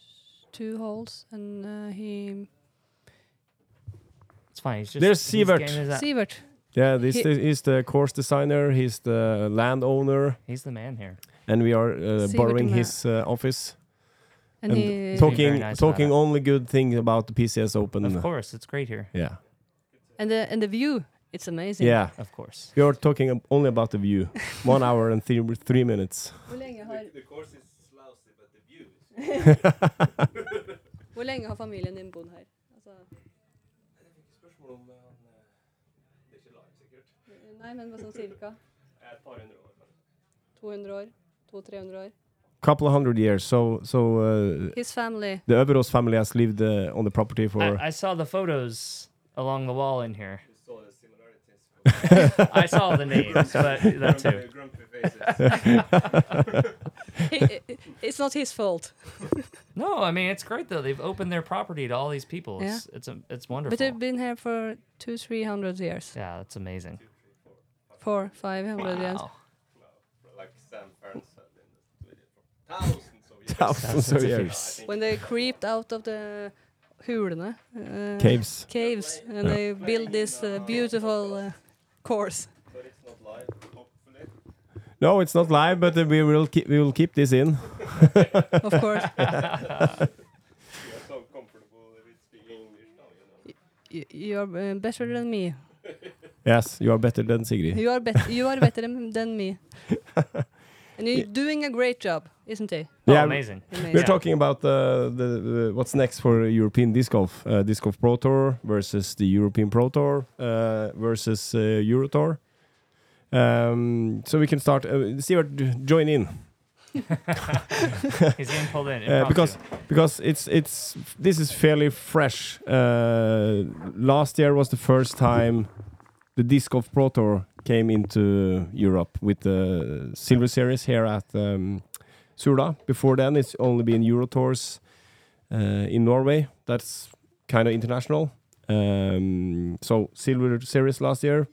B: two holes, and uh, he
C: It's fine. He's just
A: There's
C: he's
A: Sievert.
C: getting his-
B: Sievert.
A: Yeah, this
B: He-
A: is he's the course designer. He's the landowner,
C: He's the man here.
A: and we are uh,
B: Sievert
A: borrowing
B: Ma-
A: his uh, office
B: And,
A: and
B: he
A: talking
C: Very nice about
A: talking
C: it.
A: only good things about the PCS Open.
C: Of course, it's great here.
A: Yeah,
B: and the and the view. It's amazing.
A: yeah.
C: Of course.
A: We are talking ab- only about the view. One hour and three, three minutes.
B: Hvor lenge har,
D: The course is lousy, but the view is
B: hvor lenge har familien din bodd her? Altså,
D: Spørsmål om eh, han eh, Det er ikke live, sikkert.
B: nei, men sånn cirka
D: Et par hundre år. kanskje.
B: 200 år. 200-300 år.
A: Couple of hundred years. So so uh,
B: His family.
A: the Överås family has lived uh, on the property for.
D: Ah,
C: I, I saw the photos along the wall in here.
D: Du så the similarities. for-
A: [LAUGHS]
C: I saw the names, but that too.
D: Grumpy- Grumpy faces.
B: He- it's not his fault.
C: No, I mean it's great though. They've opened their property to all these people.
B: Yeah.
C: It's it's, a, it's wonderful.
B: But they've been here for two, three hundred years.
C: yeah, that's amazing.
B: Four, five hundred years.
C: Wow.
D: Like Sam Farron said in the studio for thousands of years.
A: [LAUGHS]
D: [LAUGHS]
A: Thousands of years.
B: When they creeped out of the hulene, uh,
A: Caves.
B: caves, and they built this uh, beautiful uh, course.
D: But it's not live, hopefully.
A: No, it's not live, but uh, we will keep, we will keep this in. [LAUGHS]
B: of course.
D: You're so comfortable with speaking English now, you know.
B: Y- You're uh, better than me.
A: Yes, you are better than Sigrid.
B: You are bet- you are better than
A: [LAUGHS]
B: than me. And you're doing a great job, isn't it?
A: Yeah,
C: oh,
A: [LAUGHS]
C: amazing.
A: We're
B: Amazing.
C: Yeah.
A: talking about uh, the, the what's next for European disc golf, uh, disc golf Pro Tour versus the European Pro Tour uh, versus uh, Euro Tour. Um, so we can start. Uh, Stuart, j- join in
C: He's getting pulled in.
A: uh,
C: impromptu.
A: because because it's it's this is fairly fresh. Uh, last year was the first time the disc golf Pro Tour came into Europe with the Silver Series here at um, Sula. Before then, it's only been Euro tours uh, in Norway. That's kind of international. Um, so Silver Series last year,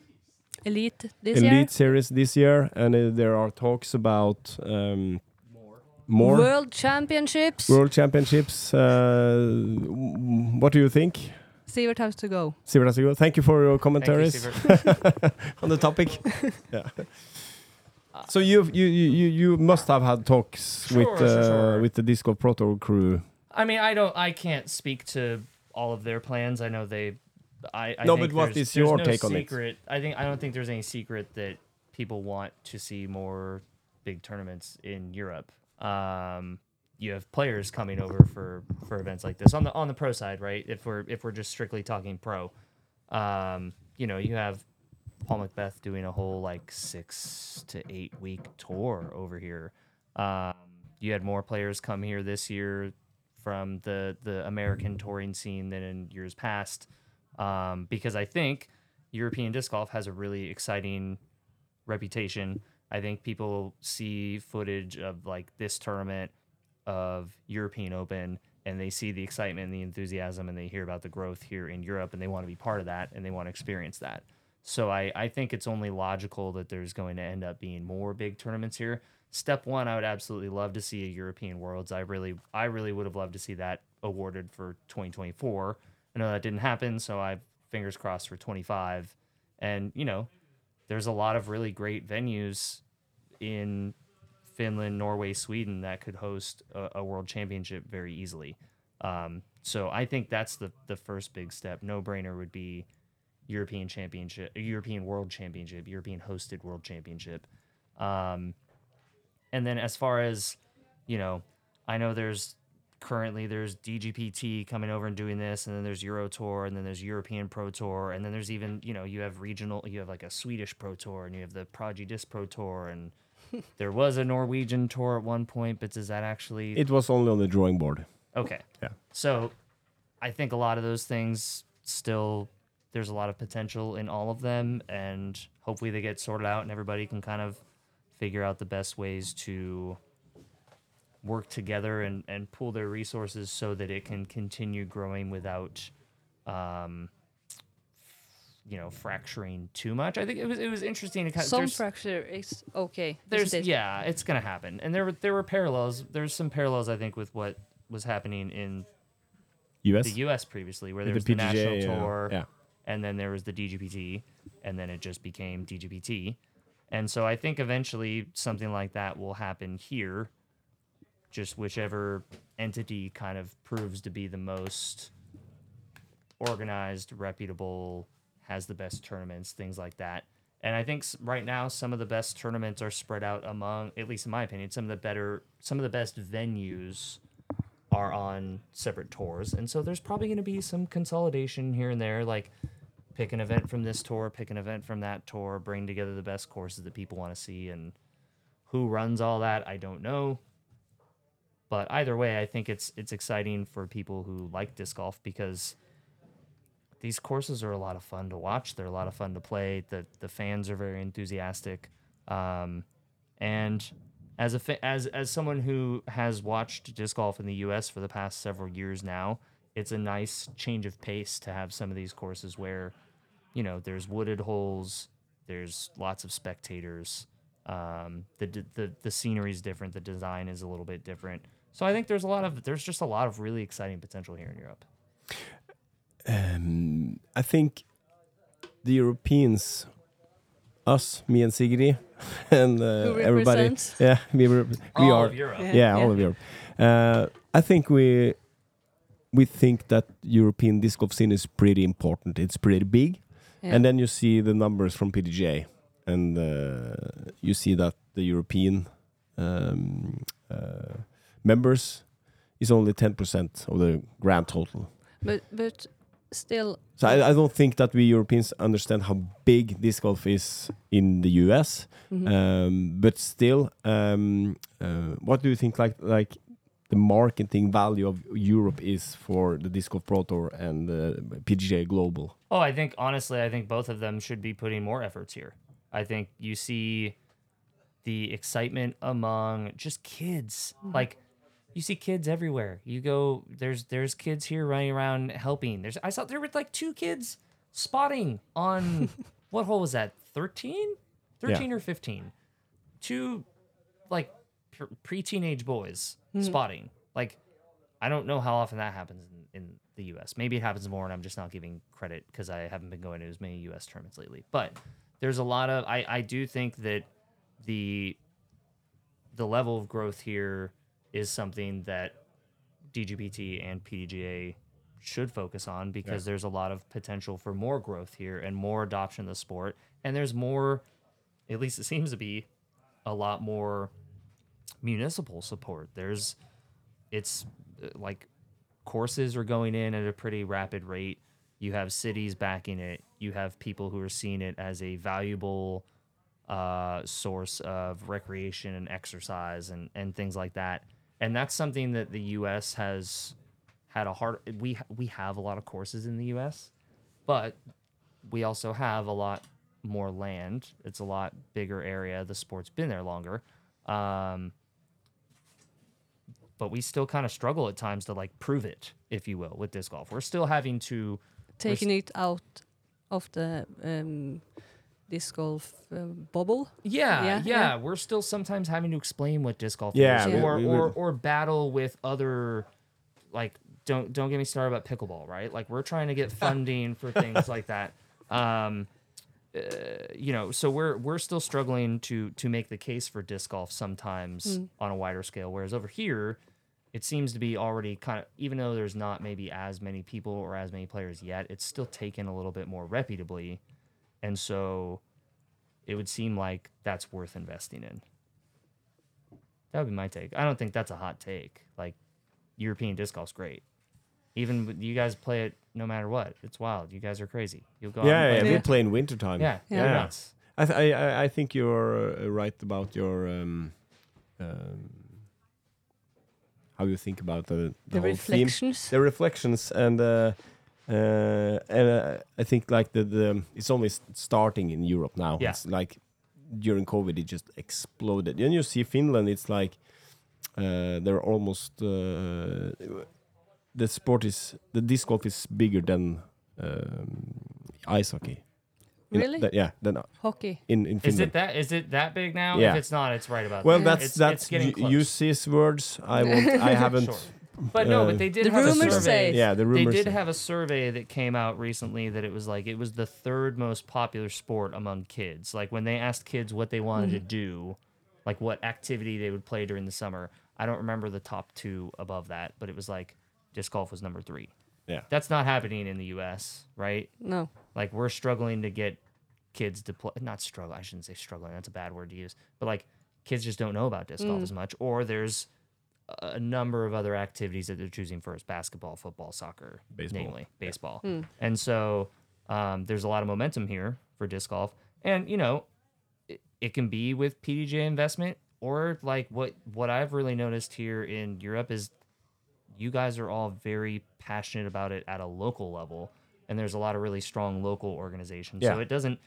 B: Elite this
A: Elite
B: year.
A: Series this year, and uh, there are talks about um, more.
B: World Championships.
A: World Championships. Uh, w- what do you think,
B: Sivert has to go.
A: Sivert Asego? Thank you for your
C: Thank you,
A: commentaries
C: Siebert.
A: on the
C: [LAUGHS]
A: topic. yeah. So you you you you must have had talks
C: Sure,
A: with
C: sure,
A: uh,
C: sure.
A: with the Disco Proto crew.
C: I mean, I don't. I can't speak to all of their plans. I know they. I, I
A: No,
C: think
A: but what
C: there's-
A: is
C: there's
A: your
C: no
A: take on it?
C: secret, I think I don't think there's any secret that people want to see more big tournaments in Europe. Um, you have players coming over for for events like this on the on the pro side, right? If we're if we're just strictly talking pro, um, you know, you have Paul Macbeth doing a whole like six to eight week tour over here. Um, you had more players come here this year from the the American touring scene than in years past, um, because I think European disc golf has a really exciting reputation. I think people see footage of like this tournament of European Open and they see the excitement and the enthusiasm and they hear about the growth here in Europe and they want to be part of that and they want to experience that. So I, I think it's only logical that there's going to end up being more big tournaments here. Step one, I would absolutely love to see a European Worlds. I really I really would have loved to see that awarded for 2024. I know that didn't happen, so I fingers crossed for 25. And you know, there's a lot of really great venues in Finland, Norway, Sweden that could host a, a world championship very easily. Um, so I think that's the the first big step. No brainer would be European championship, European world championship, European hosted world championship. Um, and then as far as you know, I know there's currently there's DGPT coming over and doing this, and then there's Euro Tour, and then there's European Pro Tour, and then there's even you know you have regional, you have like a Swedish Pro Tour, and you have the Prodigy Disc Pro Tour, and there was a Norwegian tour at one point, but does that actually
A: It was only on the drawing board.
C: Okay.
A: Yeah.
C: So I think a lot of those things still there's a lot of potential in all of them and hopefully they get sorted out and everybody can kind of figure out the best ways to work together and, and pool their resources so that it can continue growing without um you know fracturing too much. I think it was it was interesting to kind of
B: Some
C: there's-
B: fracture is okay.
C: there's
B: isn't it?
C: yeah, it's gonna happen. And there were there were parallels. There's some parallels I think with what was happening in
A: U.S.
C: the U.S. previously, where there
A: The
C: was the national
A: PGA, yeah,
C: tour,
A: yeah.
C: and then there was the DGPT, and then it just became DGPT, and so I think eventually something like that will happen here, just whichever entity kind of proves to be the most organized, reputable, has the best tournaments, things like that. And I think s- right now some of the best tournaments are spread out among, at least in my opinion, some of the better, some of the best venues are on separate tours. And so there's probably going to be some consolidation here and there, like pick an event from this tour, pick an event from that tour, bring together the best courses that people want to see. And who runs all that, I don't know. But either way, I think it's it's exciting for people who like disc golf because these courses are a lot of fun to watch. They're a lot of fun to play. The the fans are very enthusiastic, um, and as a fa- as as someone who has watched disc golf in the U.S. for the past several years now, it's a nice change of pace to have some of these courses where, you know, there's wooded holes, there's lots of spectators. Um, the d- the the scenery is different. The design is a little bit different. So I think there's a lot of there's just a lot of really exciting potential here in Europe.
A: Um, I think the Europeans, us, me and Sigrid, [LAUGHS] and uh,
B: Who
A: everybody.
B: represents?
A: Yeah, we, were- we
C: All
A: are.
C: of Europe.
B: Yeah.
A: yeah, all of Europe. Uh, I think we we think that European disc golf scene is pretty important. It's pretty big,
B: Yeah.
A: and then you see the numbers from PDGA, and uh, you see that the European um, uh, members is only ten percent of the grand total.
B: but but still,
A: So I, I don't think that we Europeans understand how big disc golf is in the US.
B: mm-hmm. Hmm.
A: Um, but still, um, uh, what do you think? Like like the marketing value of Europe is for the disc golf pro tour and uh, the PGA Global.
C: Oh, I think honestly, I think both of them should be putting more efforts here. I think you see the excitement among just kids. Like you see kids everywhere. You go there's there's kids here running around helping. There's I saw there were like two kids spotting on what hole was that? 13? 13 or 15. Two like pr- pre-teenage boys spotting. Like I don't know how often that happens in, in the U.S. Maybe it happens more, and I'm just not giving credit because I haven't been going to as many U.S. tournaments lately. But there's a lot of I, I do think that the the level of growth here is something that DGPT and PDGA should focus on because there's a lot of potential for more growth here and more adoption of the sport, and there's more, at least it seems to be, a lot more municipal support. There's it's uh, like courses are going in at a pretty rapid rate. You have cities backing it. You have people who are seeing it as a valuable uh, source of recreation and exercise and, and things like that. And that's something that the U.S. has had a hard. We we have a lot of courses in the U.S., but we also have a lot more land. It's a lot bigger area. The sport's been there longer. Um, but we still kind of struggle at times to like prove it, if you will, with disc golf. We're still having to
B: taking it out of the um, disc golf um, bubble.
C: Yeah, yeah,
B: Yeah, yeah.
C: We're still sometimes having to explain what disc golf
A: Yeah,
C: is,
B: we-
C: or,
A: we-
C: or
A: we-
C: or battle with other, like don't don't get me started about pickleball, right? Like we're trying to get funding for things like that. Um, uh, you know, so we're we're still struggling to to make the case for disc golf sometimes on a wider scale. Whereas over here, it seems to be already kind of even though there's not maybe as many people or as many players yet, it's still taken a little bit more reputably, and so it would seem like that's worth investing in. That would be my take. I don't think that's a hot take. Like European disc golf's great. Even with- you guys play it no matter what. It's wild. You guys are crazy. You'll go out and
A: Yeah, yeah,
C: play
A: we
C: it.
A: play in wintertime.
C: yeah,
B: Yeah.
C: you're
A: Yeah.
C: nuts.
A: I, th- I, I I think you're uh, right about your um, um, how you think about the, the,
B: The
A: whole
B: reflections.
A: theme, the reflections, and uh, uh, and uh, I think like the, the it's only s- starting in Europe now.
C: Yeah.
A: It's like during COVID, it just exploded. And you see Finland, it's like uh, they're almost uh, the sport is the disc golf is bigger than um, ice hockey. In-
B: Really?
A: that- yeah, than uh,
B: Hockey.
A: in in
C: Is
A: Finland.
C: it that? Is it that big now?
A: Yeah.
C: If it's not, it's right about.
A: well,
C: there.
A: that's
C: it's,
A: that's
C: it's getting
A: you,
C: close.
A: you sees words. I won't.
B: [LAUGHS]
A: I haven't.
C: Sure. But no,
A: uh,
C: but they did
B: The
C: have a
B: rumors
C: survey.
B: say-
A: Yeah, the
C: They
A: rumors.
C: did have a survey that came out recently that it was like it was the third most popular sport among kids. Like when they asked kids what they wanted to do, like what activity they would play during the summer. I don't remember the top two above that, but it was like disc golf was number three.
A: yeah.
C: That's not happening in the U.S. Right?
B: No.
C: Like we're struggling to get kids to play. Not struggle. I shouldn't say struggling. That's a bad word to use. But like kids just don't know about disc golf as much, or there's a- a number of other activities that they're choosing first: basketball, football, soccer,
A: Baseball.
C: namely baseball. And so um, there's a lot of momentum here for disc golf, and you know it, it can be with PDJ investment or like what what I've really noticed here in Europe is you guys are all very passionate about it at a local level and there's a lot of really strong local organizations so
A: Yeah.
C: it doesn't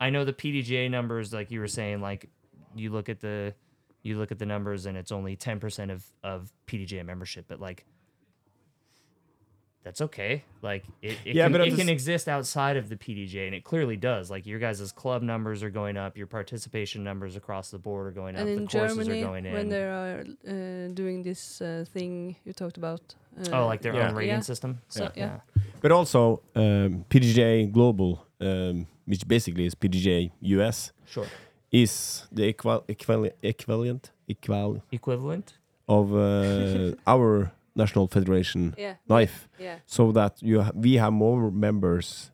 C: i know the pdga numbers like you were saying like you look at the you look at the numbers and it's only 10% of of pdga membership but like that's okay like it, it,
A: Yeah,
C: can,
A: but at
C: it
A: the
C: can
A: s-
C: exist outside of the pdga and it clearly does like your guys' club numbers are going up your participation numbers across the board are going up
B: And
C: the
B: in
C: courses
B: Germany,
C: are going in
B: when they are uh, doing this uh, thing you talked about. Uh,
C: oh like their
A: Yeah.
C: own rating
B: Yeah.
C: system
B: So, yeah.
A: But also um, PGA Global, um, which basically is PGA US,
C: sure
A: is the equal, equal, equivalent equal
C: Equivalent?
A: of
C: [LAUGHS]
A: uh, our national federation
B: Yeah,
A: knife,
B: yeah.
A: so that you ha- we have more members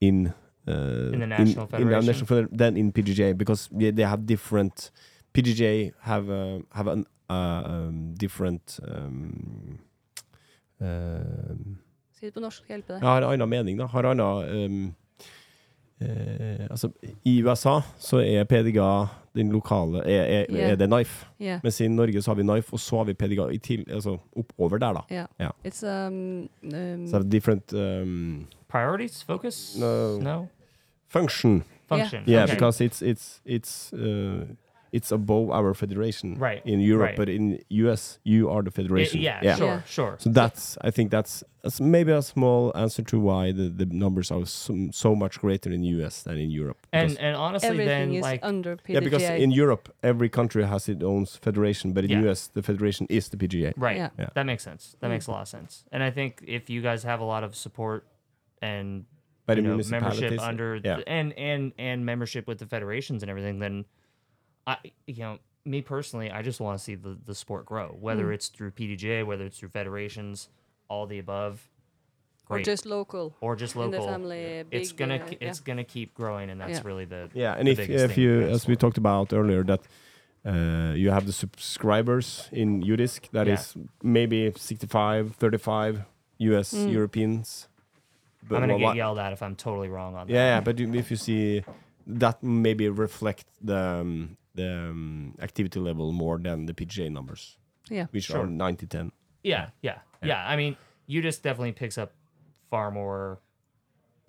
A: in uh,
C: the
A: in
C: national
A: the
C: federation?
A: national feder- than in PGJ because we, they have different. PGJ have uh, have an uh, um, different. Um, um,
B: Si det på norsk, hjelpe deg.
A: Jeg har en annen mening, da. Har annen ehm, eh, Altså, i USA så er PDGA den lokale Er, er,
B: Ja.
A: er det Knife?
B: Yeah.
A: Mens i Norge så har vi Knife, og så har vi PDGA i til, altså, oppover der, da.
B: Yeah.
A: Yeah.
B: It's um, um
A: Så det er different um,
C: Priorities? Focus?
A: No.
C: No?
A: function.
C: Function.
A: Yeah,
C: Mm. okay.
A: because it's it's it's uh, it's above our federation
C: Right,
A: in Europe,
C: right.
A: but in US you are the
C: Y-
A: federation.
C: yeah, sure,
B: Yeah.
C: sure.
A: So that's I think that's, that's maybe a small answer to why the, the numbers are so, so much greater in US than in Europe. because-
C: And and honestly,
B: everything
C: then
B: is
C: like
B: under PDGA.
A: Yeah, because in Europe, every country has its own federation, but in
C: Yeah.
A: US, the federation is the PGA.
C: Right.
B: Yeah.
A: Yeah.
C: That makes sense. That makes a lot of sense. And I think if you guys have a lot of support and
A: By the
C: you know, membership
A: municipalities,
C: under
A: yeah.
C: the, and and and membership with the federations and everything, then I you know me personally, I just want to see the the sport grow, whether
B: Mm.
C: it's through PDGA, whether it's through federations, all the above.
B: or
C: Great.
B: just local.
C: or just
B: in the
C: local.
B: family, uh,
C: it's
B: big,
C: gonna
B: uh,
C: k- it's gonna keep growing, and that's
B: Yeah.
C: really the
A: Yeah, and
C: the
A: if,
C: biggest
A: if
C: thing
A: you,
C: for
A: as we
C: sport.
A: talked about earlier, that uh, you have the subscribers in UDISC, that
C: Yeah.
A: is maybe 65, 35 US Europeans. But
C: I'm gonna
A: wha-
C: get
A: wha-
C: yelled at if I'm totally wrong on that.
A: Yeah, yeah, but you- if you see that, maybe reflect the, um, the um, activity level more than the PGA numbers,
B: Yeah.
A: which
C: Sure.
A: are 90 10.
C: Yeah, yeah, yeah. I mean, Udis definitely picks up far more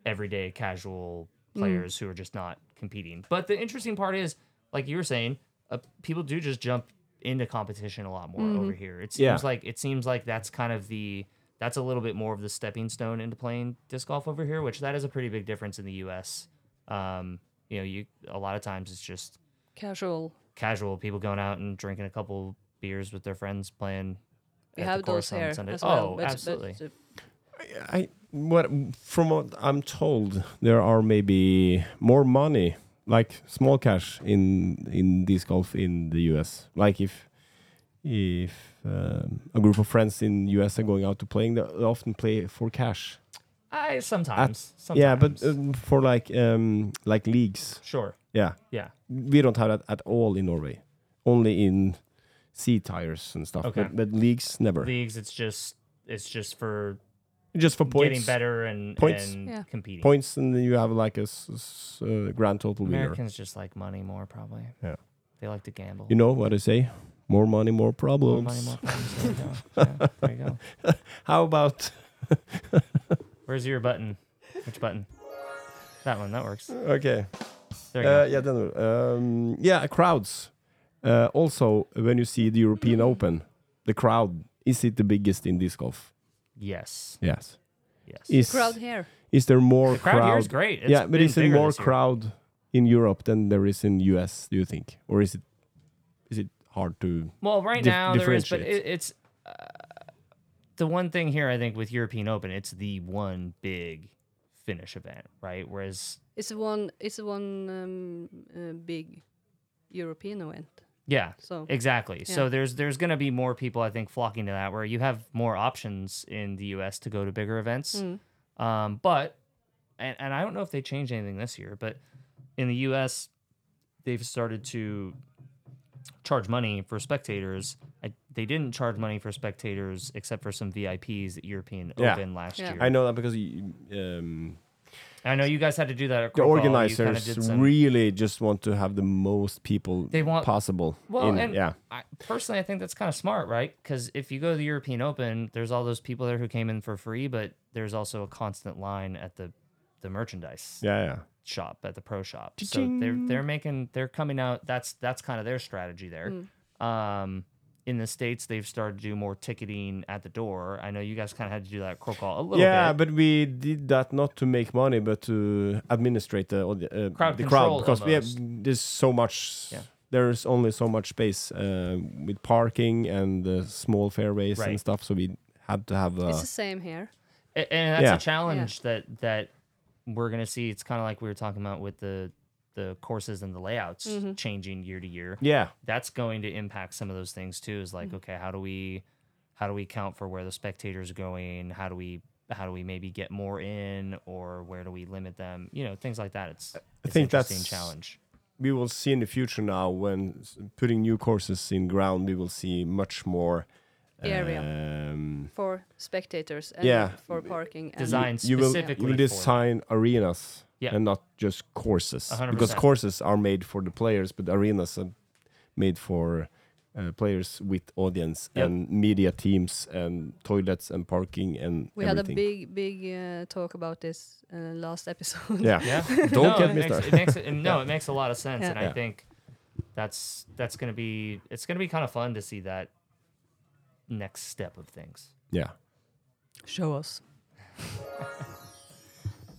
C: everyday casual players who are just not competing. But the interesting part is, like you were saying, uh, people do just jump into competition a lot more over here. It seems
A: Yeah.
C: like it seems like that's kind of the that's a little bit more of the stepping stone into playing disc golf over here, which that is a pretty big difference in the U.S. Um, you know, you a lot of times it's just
B: Casual.
C: casual people going out and drinking a couple beers with their friends playing.
B: We
C: at the
B: have those
C: course on
B: here
C: Sunday.
B: as
C: Oh,
B: well. but- but,
C: absolutely.
B: uh,
A: I what from what I'm told, there are maybe more money, like small cash in in disc golf in the US. Like if if um, a group of friends in US are going out to playing, they often play for cash.
C: I sometimes, sometimes.
A: Yeah, but um, for like um, like leagues,
C: sure.
A: yeah,
C: Yeah.
A: we don't have that at all in Norway. Only in sea tires and stuff,
C: Okay.
A: but, but leagues never.
C: Leagues it's just it's just for
A: Just for
C: getting
A: points,
C: better and
A: Points.
C: and
B: Yeah.
C: competing.
A: points, and then you have like a s- s- uh, grand total winner.
C: Americans just like money more probably.
A: Yeah.
C: They like to gamble.
A: You know what I say? More money, more
C: More
A: problems.
C: money, more
A: [LAUGHS]
C: problems. There you go. Yeah, there you go.
A: How about [LAUGHS]
C: Where's your button? Which button? That one, that works.
A: okay?
C: There you
A: Uh,
C: go.
A: yeah, then, um, yeah, crowds. Uh, also, when you see the European Open, the crowd is it the biggest in disc golf?
C: Yes.
A: Yes.
C: Yes.
A: Is
B: crowd here.
A: is there more
C: the crowd, here is great. It's
A: yeah, but
C: been
A: is there
C: bigger
A: more
C: this year.
A: crowd in Europe than there is in US? Do you think, or is it is it hard to?
C: Well, right
A: dif-
C: now there is, but
A: differentiate.
C: it, it's uh, the one thing here. I think with European Open, it's the one big finish event, right? Whereas,
B: It's one. It's one um, uh, big European event.
C: yeah,
B: So
C: exactly. So
B: yeah.
C: there's there's going to be more people, I think, flocking to that. Where you have more options in the U.S. to go to bigger events,
B: Hmm.
C: um, but and and I don't know if they changed anything this year, but in the U.S. they've started to charge money for spectators. I, they didn't charge money for spectators except for some VIPs at European
A: Yeah.
C: Open last
B: Yeah.
C: year.
A: I know that because you, um,
C: I know you guys had to do that. At
A: the
C: Cornwall. You kinda
A: organizers
C: did some-
A: really just want to have the most people
C: They want-
A: possible.
C: well,
A: in-
C: and
A: yeah.
C: I, personally, I think that's kind of smart, right? Because if you go to the European Open, there's all those people there who came in for free, but there's also a constant line at the the merchandise
A: Yeah, yeah.
C: shop at the pro shop. So they're they're making they're coming out. That's that's kind of their strategy there. Um, in the states, they've started to do more ticketing at the door. I know you guys kind of had to do that at Crow Call a little
A: Yeah,
C: bit.
A: but we did that not to make money, but to administrate the audi- uh,
C: Crowd
A: the crowd
C: control
A: because we have,
C: almost.
A: there's so much.
C: Yeah.
A: There's only so much space uh, with parking and uh, small fairways and
C: Right.
A: stuff, so we had to have. Uh,
B: it's the same here.
C: A- and that's
A: Yeah.
C: a challenge that that we're gonna see. It's kind of like we were talking about with the the courses and the layouts changing year to year
A: Yeah.
C: that's going to impact some of those things too is like okay how do we how do we count for where the spectators are going how do we how do we maybe get more in or where do we limit them you know things like that it's it's
A: think
C: an interesting
A: that's- [LAUGHS]
C: challenge
A: we will see in the future now when s- putting new courses in ground, we will see much more.
B: Area.
A: Um,
B: for spectators and
A: Yeah.
B: for parking. And
C: designed
A: you will
C: specifically
A: you will
C: for
A: design arenas
C: Yeah.
A: and not just courses
C: hundred
A: because
C: percent.
A: courses are made for the players, but arenas are made for uh, players with audience
C: Yep.
A: and media teams and toilets and parking and
B: we had a
A: everything.
B: big, big uh, talk about this uh, last episode.
A: yeah.
C: [LAUGHS] Yeah.
A: Don't
C: no,
A: get me
C: it makes,
A: started.
C: It makes it, no, it makes a lot of sense,
B: Yeah.
C: and
A: Yeah.
C: I think that's that's gonna be it's gonna be kind of fun to see that next step of things.
A: yeah.
B: [LAUGHS] Show us.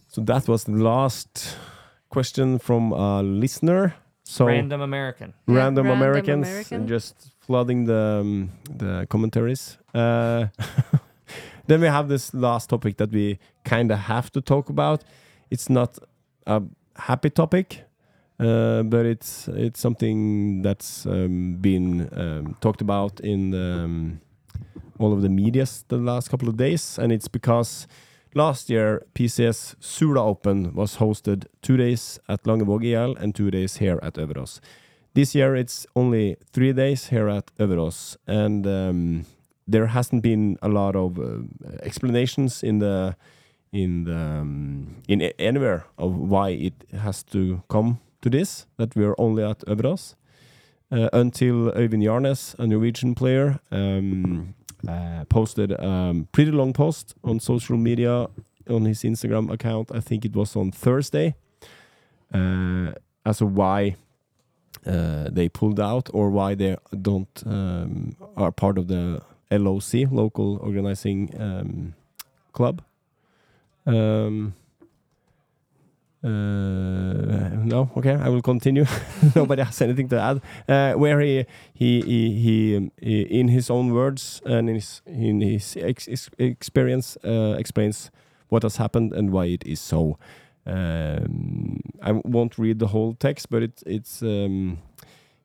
A: So that was the last question from a listener. So
C: Random American.
B: Yeah,
A: random,
B: random
A: Americans
B: American.
A: just flooding the um, the commentaries. Uh, [LAUGHS] then we have this last topic that we kind of have to talk about. It's not a happy topic, uh, but it's it's something that's um, been um, talked about in um, all of the medias the last couple of days, and it's because. Last year, PCS Sula Open was hosted two days at Langevåg IL and two days here at Øverås. This year it's only three days here at Överås, and um, there hasn't been a lot of uh, explanations in the in the um, in a- anywhere of why it has to come to this that we are only at Överås uh, until Øyvind Jarnes, a Norwegian player, um, uh, posted a pretty long post on social media on his Instagram account. I think it was on Thursday uh, as to why uh, they pulled out or why they don't um, are part of the LOC, local organizing um, club. Um, uh, no, okay, I will continue. [LAUGHS] Nobody has anything to add. Uh, where he he, he he um, he in his own words and in his in his ex- ex- experience uh, explains what has happened and why it is so. Um, I won't read the whole text, but it's it's um,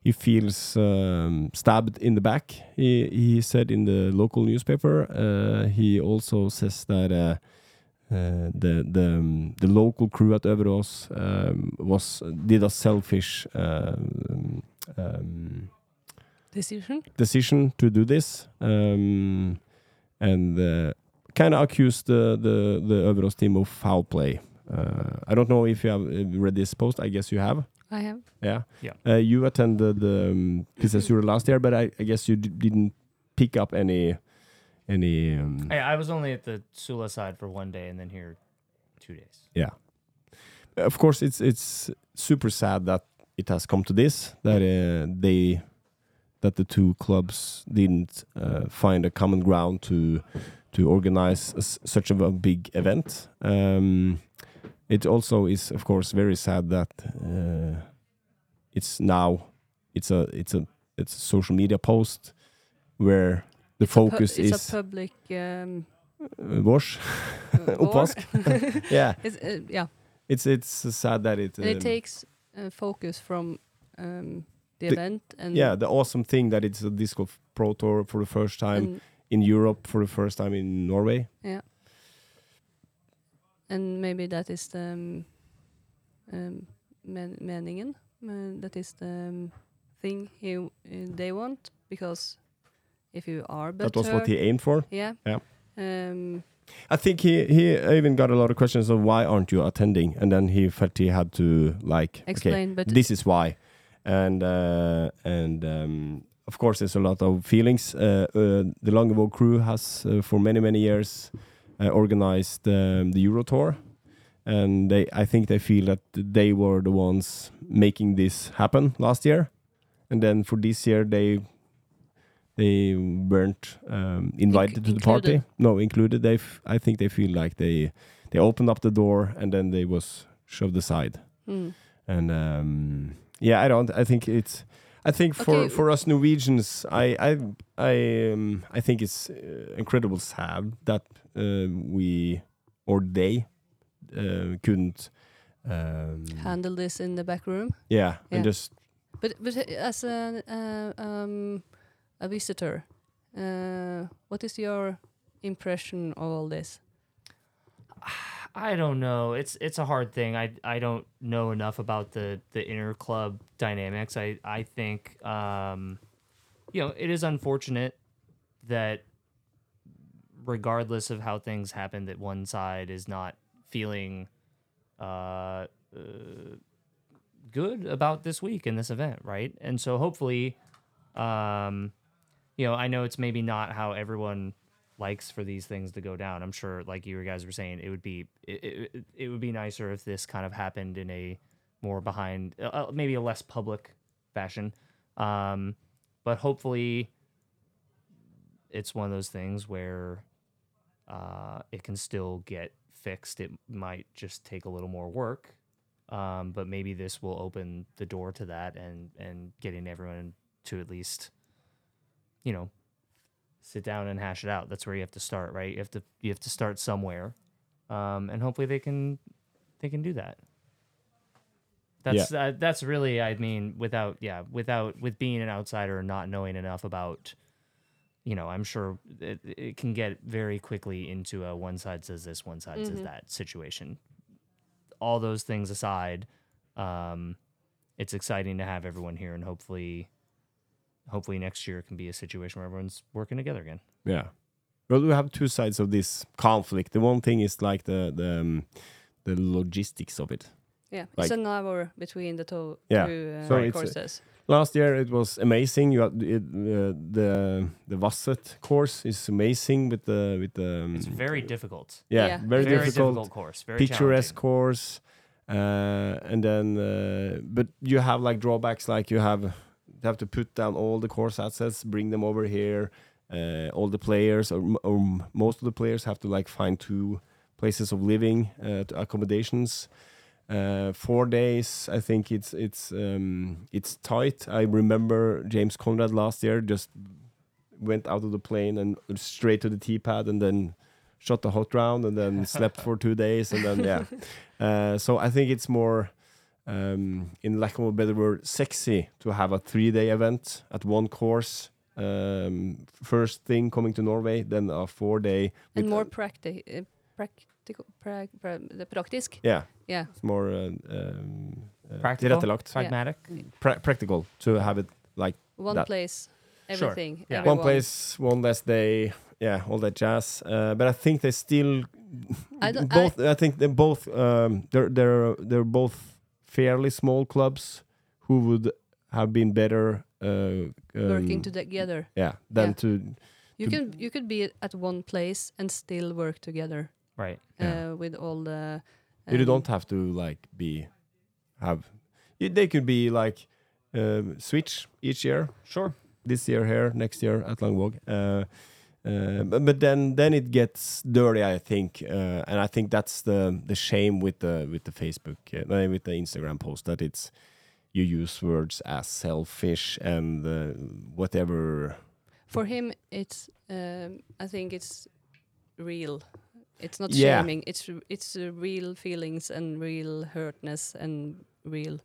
A: he feels um, stabbed in the back. He he said in the local newspaper. Uh, he also says that. Uh, uh, the the um, the local crew at Överås um, was did a selfish um, um,
B: Decision?
A: decision to do this, um, and uh, kind of accused the the the Överås team of foul play. Uh, I don't know if you have uh, read this post. I guess you have.
B: I have.
A: Yeah.
C: Yeah.
A: Uh, you attended the um, Pizzasura last year, but I, I guess you d- didn't pick up any any. Um,
C: I, I was only at the Sula side for one day and then here two days.
A: of course it's it's super sad that it has come to this that uh, they that the two clubs didn't uh, find a common ground to to organize a s such of a big event. Um, it also is of course very sad that uh, it's now it's a it's a it's a social media post where the
B: a pu-
A: focus
B: it's a
A: is
B: public
A: [LAUGHS]
B: um,
A: uh, wash
B: uh, war.
A: Opask. [LAUGHS] yeah
B: [LAUGHS] It's, uh,
A: [LAUGHS]
B: yeah,
A: it's it's sad that it
B: and it
A: um,
B: takes uh, focus from um, the,
A: The-
B: event and
A: yeah the awesome thing that it's a disc golf pro tour for the first time
B: and,
A: in europe for the first time in norway
B: and maybe that is the um, um, men- meningen. uh, that is the um, thing he uh, they want because if you are better,
A: that was what he aimed for
B: yeah,
A: Yeah.
B: Um,
A: i think he he even got a lot of questions of why aren't you attending and then he felt he had to like okay
B: explain, but
A: this is why and uh and um of course there's a lot of feelings uh, uh the longeville crew has uh, for many many years uh, organized um, the euro tour and they i think they feel that they were the ones making this happen last year and then for this year they they weren't um, invited to the party
B: included.
A: no included they f- i think they feel like they they opened up the door and then they was shoved aside
B: mm.
A: and um, yeah, I don't. I think it's. I think for
B: Okay.
A: for us Norwegians, I I I um, I think it's uh, incredible sad that uh, we or they uh, couldn't Um,
B: handle this in the back room.
A: yeah, and
B: Yeah.
A: just
B: But but uh, as a uh, um, a visitor, uh, what is your impression of all this?
C: I don't know. It's it's a hard thing. I I don't know enough about the the inner club dynamics. I I think um you know, it is unfortunate that regardless of how things happen that one side is not feeling uh, uh good about this week and this event, right? And so hopefully um you know, I know it's maybe not how everyone likes for these things to go down. I'm sure, like you guys were saying, it would be it, it, it would be nicer if this kind of happened in a more behind, uh, uh, maybe a less public fashion. Um, but hopefully, it's one of those things where uh, it can still get fixed. It might just take a little more work. Um, but maybe this will open the door to that and and getting everyone to at least you know sit down and hash it out that's where you have to start right you have to you have to start somewhere um, and hopefully they can they can do that that's uh, that's really i mean without yeah without with being an outsider and not knowing enough about you know i'm sure it, it can get very quickly into a one side says this one side says that situation all those things aside um, it's exciting to have everyone here and hopefully hopefully next year can be a situation where everyone's working together again.
A: Yeah. Well, we have two sides of this conflict. The one thing is like the the, um, the logistics of it.
B: Yeah,
A: Like-
B: it's an hour between the to-
A: Yeah,
B: two uh,
A: so it's a-
B: courses.
A: Last year it was amazing. You had it, uh, the the Vasset course is amazing with the with the um,
C: It's very difficult.
A: yeah,
B: yeah.
A: very, difficult,
C: course. Very
A: picturesque
C: picturesque.
A: course, uh, and then uh, but you have like drawbacks like you have you have to put down all the course assets, bring them over here. Uh, all the players or, m- or m- most of the players have to like find two places of living uh, to accommodations. Uh, four days, I think it's it's um, it's tight. I remember James Conrad last year just went out of the plane and straight to the tee pad and then shot the hot round and
B: [LAUGHS]
A: then slept for two days and then yeah. Uh, so I think it's more, um, in lack of a better word, sexy to have a three-day event at one course. Um, first thing coming to Norway, then a four-day.
B: and
A: with-
B: more practi- uh, practical, pra- pra- the praktisk.
A: yeah,
B: Yeah,
A: it's more uh, um, uh,
C: Practical?
A: tilrettelagt.
C: Pragmatic.
A: Pra- practical to have it like
B: one
A: That-
B: place,
C: Sure.
B: everything.
C: Yeah.
A: one
B: everyone.
A: place, one less day. Yeah, all that jazz. Uh, but I think they still
B: I don't, I-
A: both I, think they're both um, they're they're they're both fairly small clubs who would have been better uh, um,
B: working together.
A: yeah than
B: yeah.
A: to to-
B: You can you could be at one place and still work together
C: Right.
A: Yeah.
B: uh, with all the.
A: you
B: um,
A: don't have to like be have y- they could be like um, switch each year
C: Sure.
A: this year here next year at Langvåg. Uh, uh, but, but then then it gets dirty I think uh, and I think that's the the shame with the with the Facebook uh, no, with the Instagram post that it's you use words as selfish and uh, whatever
B: um, For him, it's. Um, I think it's real. It's not
A: Yeah.
B: shaming. It's r- it's uh, real feelings and real hurtness and real,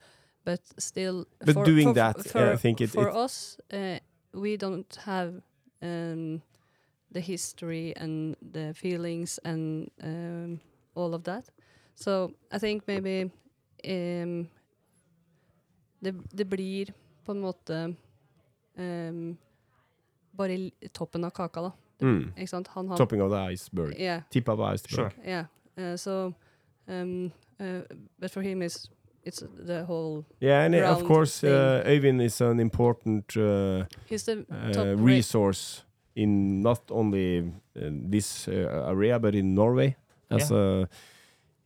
B: but still.
A: But doing
B: for,
A: that, uh,
B: for,
A: I think it-
B: for
A: it-
B: us, uh, we don't have um, the history and the feelings and um, all of that. So I think maybe um, det, det blir på en måte um, bare l- toppen av kaka, da.
A: Mm.
B: Ikke sant? Han har
A: topping of the iceberg
B: Yeah,
A: tip of iceberg
C: Sure.
B: yeah. Uh, so, um, uh, but for him, it's it's the whole.
A: yeah and uh, of
B: Round
A: course
B: thing.
A: uh, Øyvind is an important uh,
B: He's the top
A: uh,
B: ra-
A: resource in not only uh, this uh, area but in Norway. As uh,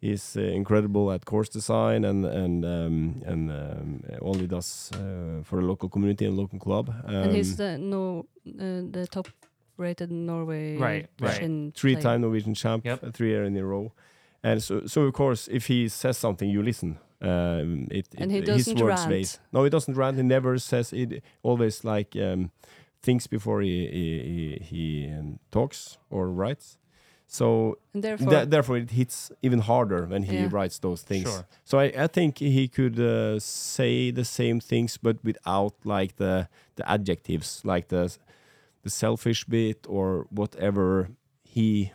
A: he's uh, incredible at course design and and um, and um, only does uh, for the local community and local club. Um,
B: and he's the no uh, the top rated Norway
C: Right, right.
A: three time Norwegian champ,
C: Yep.
A: uh, three year in a row. And so, so of course, if he says something, you listen. Um, it,
B: And
A: it-
B: he
A: his
B: doesn't
A: words
B: rant.
A: weighs. No, he doesn't rant. He never says it. Always like um, thinks before he he, he, he um, talks or writes. So
B: And therefore,
A: Th- therefore, it hits even harder when he
B: Yeah.
A: writes those things.
C: Sure.
A: So I, I think he could uh, say the same things, but without like the the adjectives, like the the selfish bit or whatever he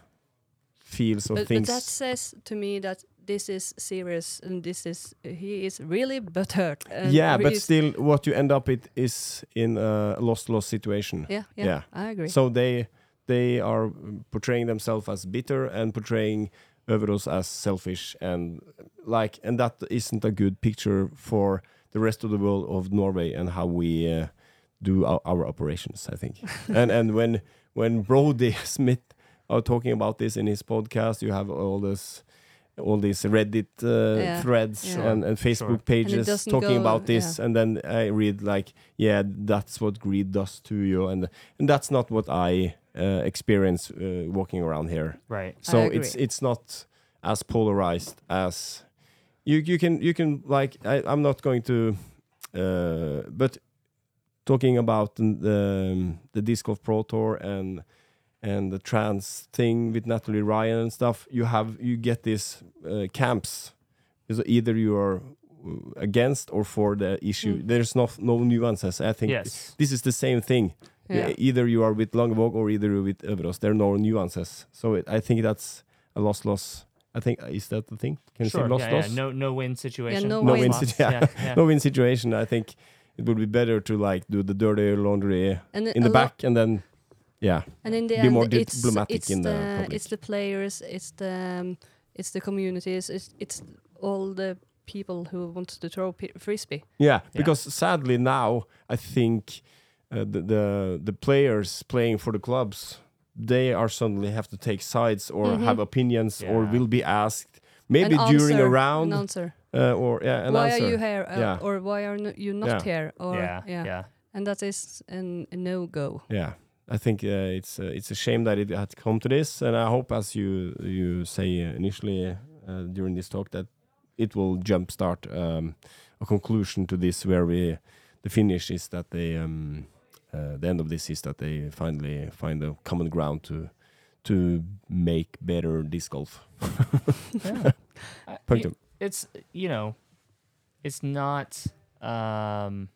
A: feels or
B: but, but
A: thinks.
B: that says to me that this is serious and this is he is really butthurt. and
A: yeah,
B: re-
A: but
B: uh, is-
A: still, what you end up it is in a lost loss situation.
B: yeah, yeah,
A: yeah.
B: I agree.
A: So they they are portraying themselves as bitter and portraying Överos as selfish and like and that isn't a good picture for the rest of the world of Norway and how we uh, do our, our operations. I
B: [LAUGHS]
A: think and and when when Brody [LAUGHS] Smith are talking about this in his podcast, you have all this. All these Reddit uh,
B: Yeah,
A: threads
B: yeah.
A: and, and Facebook pages
B: doesn't
A: talking
B: go-
A: about this,
B: yeah.
A: and then I read like, yeah, that's what greed does to you, and and that's not what I uh, experience uh, walking around here.
C: Right.
A: So
B: agree.
A: it's it's not as polarized as you you can you can like I, I'm not going to, uh, but talking about the the, um, the disc golf pro tour and and the trans thing with Natalie Ryan and stuff, you have you get these uh, camps. So either you are uh, against or for the issue.
B: Mm.
A: There's no no nuances. I think
C: Yes.
A: this is the same thing.
B: yeah.
A: E- Either you are with Langevåg or either you're with Øverås. There are no nuances. So it, I think that's a loss loss. I think uh, is that the thing? Can you say
C: Sure.
A: loss
C: yeah, yeah.
A: loss?
C: No, no win situation.
B: no
A: No
B: win.
A: win
C: loss.
A: situation. Yeah.
C: yeah.
A: [LAUGHS] no win situation. I think it would be better to like do the dirty laundry
B: And
A: in the
B: a lot-
A: back and then yeah.
B: And in the
A: Be
B: end,
A: more
B: it's,
A: diplomatic
B: it's
A: in the public.
B: it's the players, it's the um, it's the communities, it's it's all the people who want to throw pi frisbee.
A: Yeah,
C: Yeah.
A: because sadly now I think uh, the, the the players playing for the clubs they are suddenly have to take sides or
B: Mhm.
A: have opinions or
C: Yeah.
A: will be asked maybe
B: An
A: during
B: answer,
A: a
B: an
A: round
B: answer.
A: uh, or yeah, an
B: why
A: answer.
B: are you here? Uh,
A: Yeah.
B: Or why are no, you not
A: Yeah.
B: here? Or
C: yeah. Yeah.
B: And that is an, a no go.
A: Yeah, I think uh, it's uh, it's a shame that it had come to this, and I hope, as you you say uh, initially uh, during this talk, that it will jumpstart um, a conclusion to this, where we the finish is that they um, uh, the end of this is that they finally find a common ground to to make better disc golf.
C: I-
A: Punktum.
C: it's you know it's not um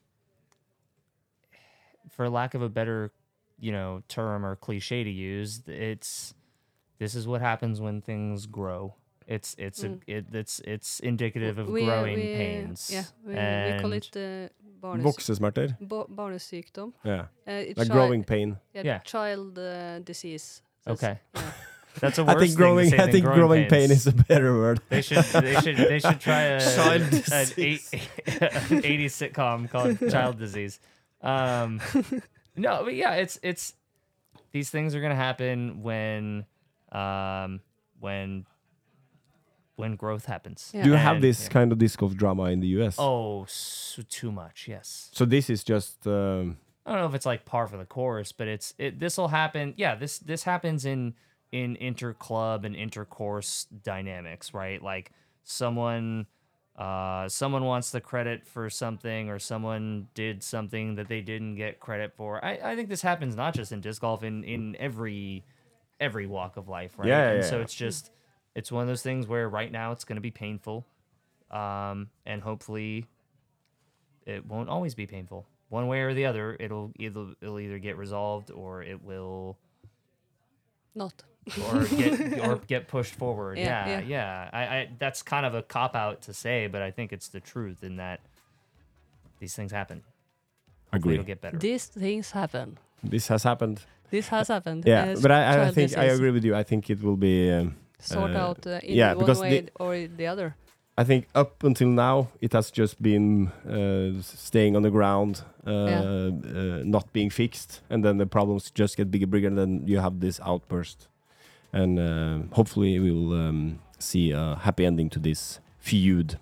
C: for lack of a better you know term or cliche to use it's this is what happens when things grow it's it's
B: Mm.
C: a it, it's it's indicative of
B: We-
C: growing
B: we-
C: pains
B: Yeah, we,
C: and
B: we call it uh, barnes,
A: Voksesmerter.
B: bo- barnesykdom.
A: Yeah,
B: Uh, it's
A: like
B: chi-
A: growing pain.
B: yeah,
C: yeah.
B: child uh, disease. So it's-
C: okay
B: yeah.
C: that's a worse
A: I think growing.
C: thing to say
A: I
C: than
A: think growing pain is
C: pains.
A: a better word.
C: [LAUGHS] They should they should they should try a
A: Child
C: an, [LAUGHS] eight,
A: disease.
C: an 80s sitcom called Child Disease. Um, no, but yeah, it's it's these things are gonna happen when um, when when growth happens.
B: Yeah.
A: Do you have
C: And-
A: this
C: yeah.
A: kind of disc golf drama in the U.S.?
C: Oh, so too much. Yes.
A: So this is just um,
C: I don't know if it's like par for the course, but it's it. This will happen. Yeah, this this happens in in inter club and intercourse dynamics, right? Like someone uh someone wants the credit for something or someone did something that they didn't get credit for. I, I think this happens not just in disc golf in in every every walk of life, right?
A: Yeah, yeah,
C: and so
A: yeah.
C: it's just it's one of those things where right now it's going to be painful. Um and hopefully it won't always be painful. One way or the other, it'll either it'll either get resolved or it will
A: [LAUGHS]
B: Not.
C: or get or get pushed forward.
B: Yeah,
C: Yeah,
B: yeah.
C: yeah. I, I that's kind of a cop out to say, but I think it's the truth in that these things happen. Hopefully It'll
A: agree.
C: get better.
B: These things happen.
A: This has happened.
B: This has happened.
A: Yeah,
B: Uh,
A: but I, I
B: child
A: think I
B: disease.
A: agree with you. I think it will be. Um,
B: Sort
A: Uh,
B: out uh, in
A: yeah,
B: one
A: because
B: way
A: the-
B: or the other.
A: I think up until now it has just been uh, s- staying on the ground, uh, uh, not being fixed, and then the problems just get bigger, bigger, and then you have this outburst. And uh, hopefully we'll um, see a happy ending to this feud.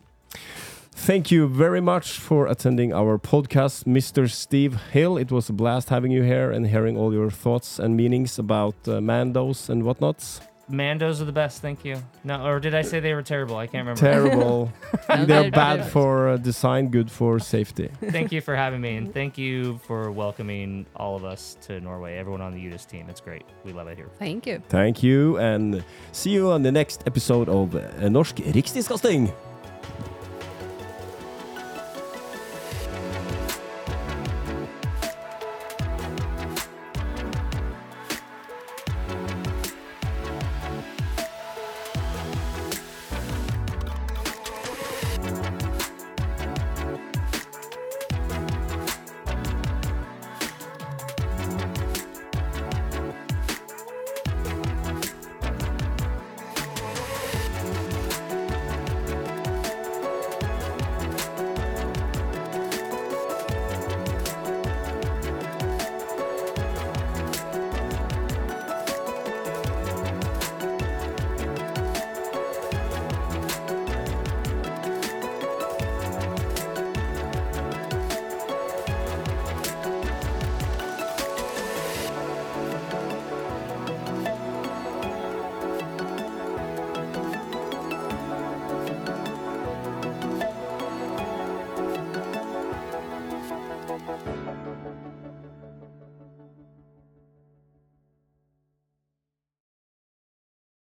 A: Thank you very much for attending our podcast, Mr. Steve Hill. It was a blast having you here and hearing all your thoughts and meanings about uh, Mandos and whatnots.
C: Mandos are the best. Thank you. No, or did I say they were terrible? I can't remember.
A: Terrible.
B: No,
A: [LAUGHS] They're bad
B: they're-
A: for uh, design, good for safety.
C: [LAUGHS] thank you for having me, and thank you for welcoming all of us to Norway. Everyone on the UDIS team, it's great. We love it here.
B: Thank you.
A: Thank you, and see you on the next episode of uh, Norsk Rikstiskasting.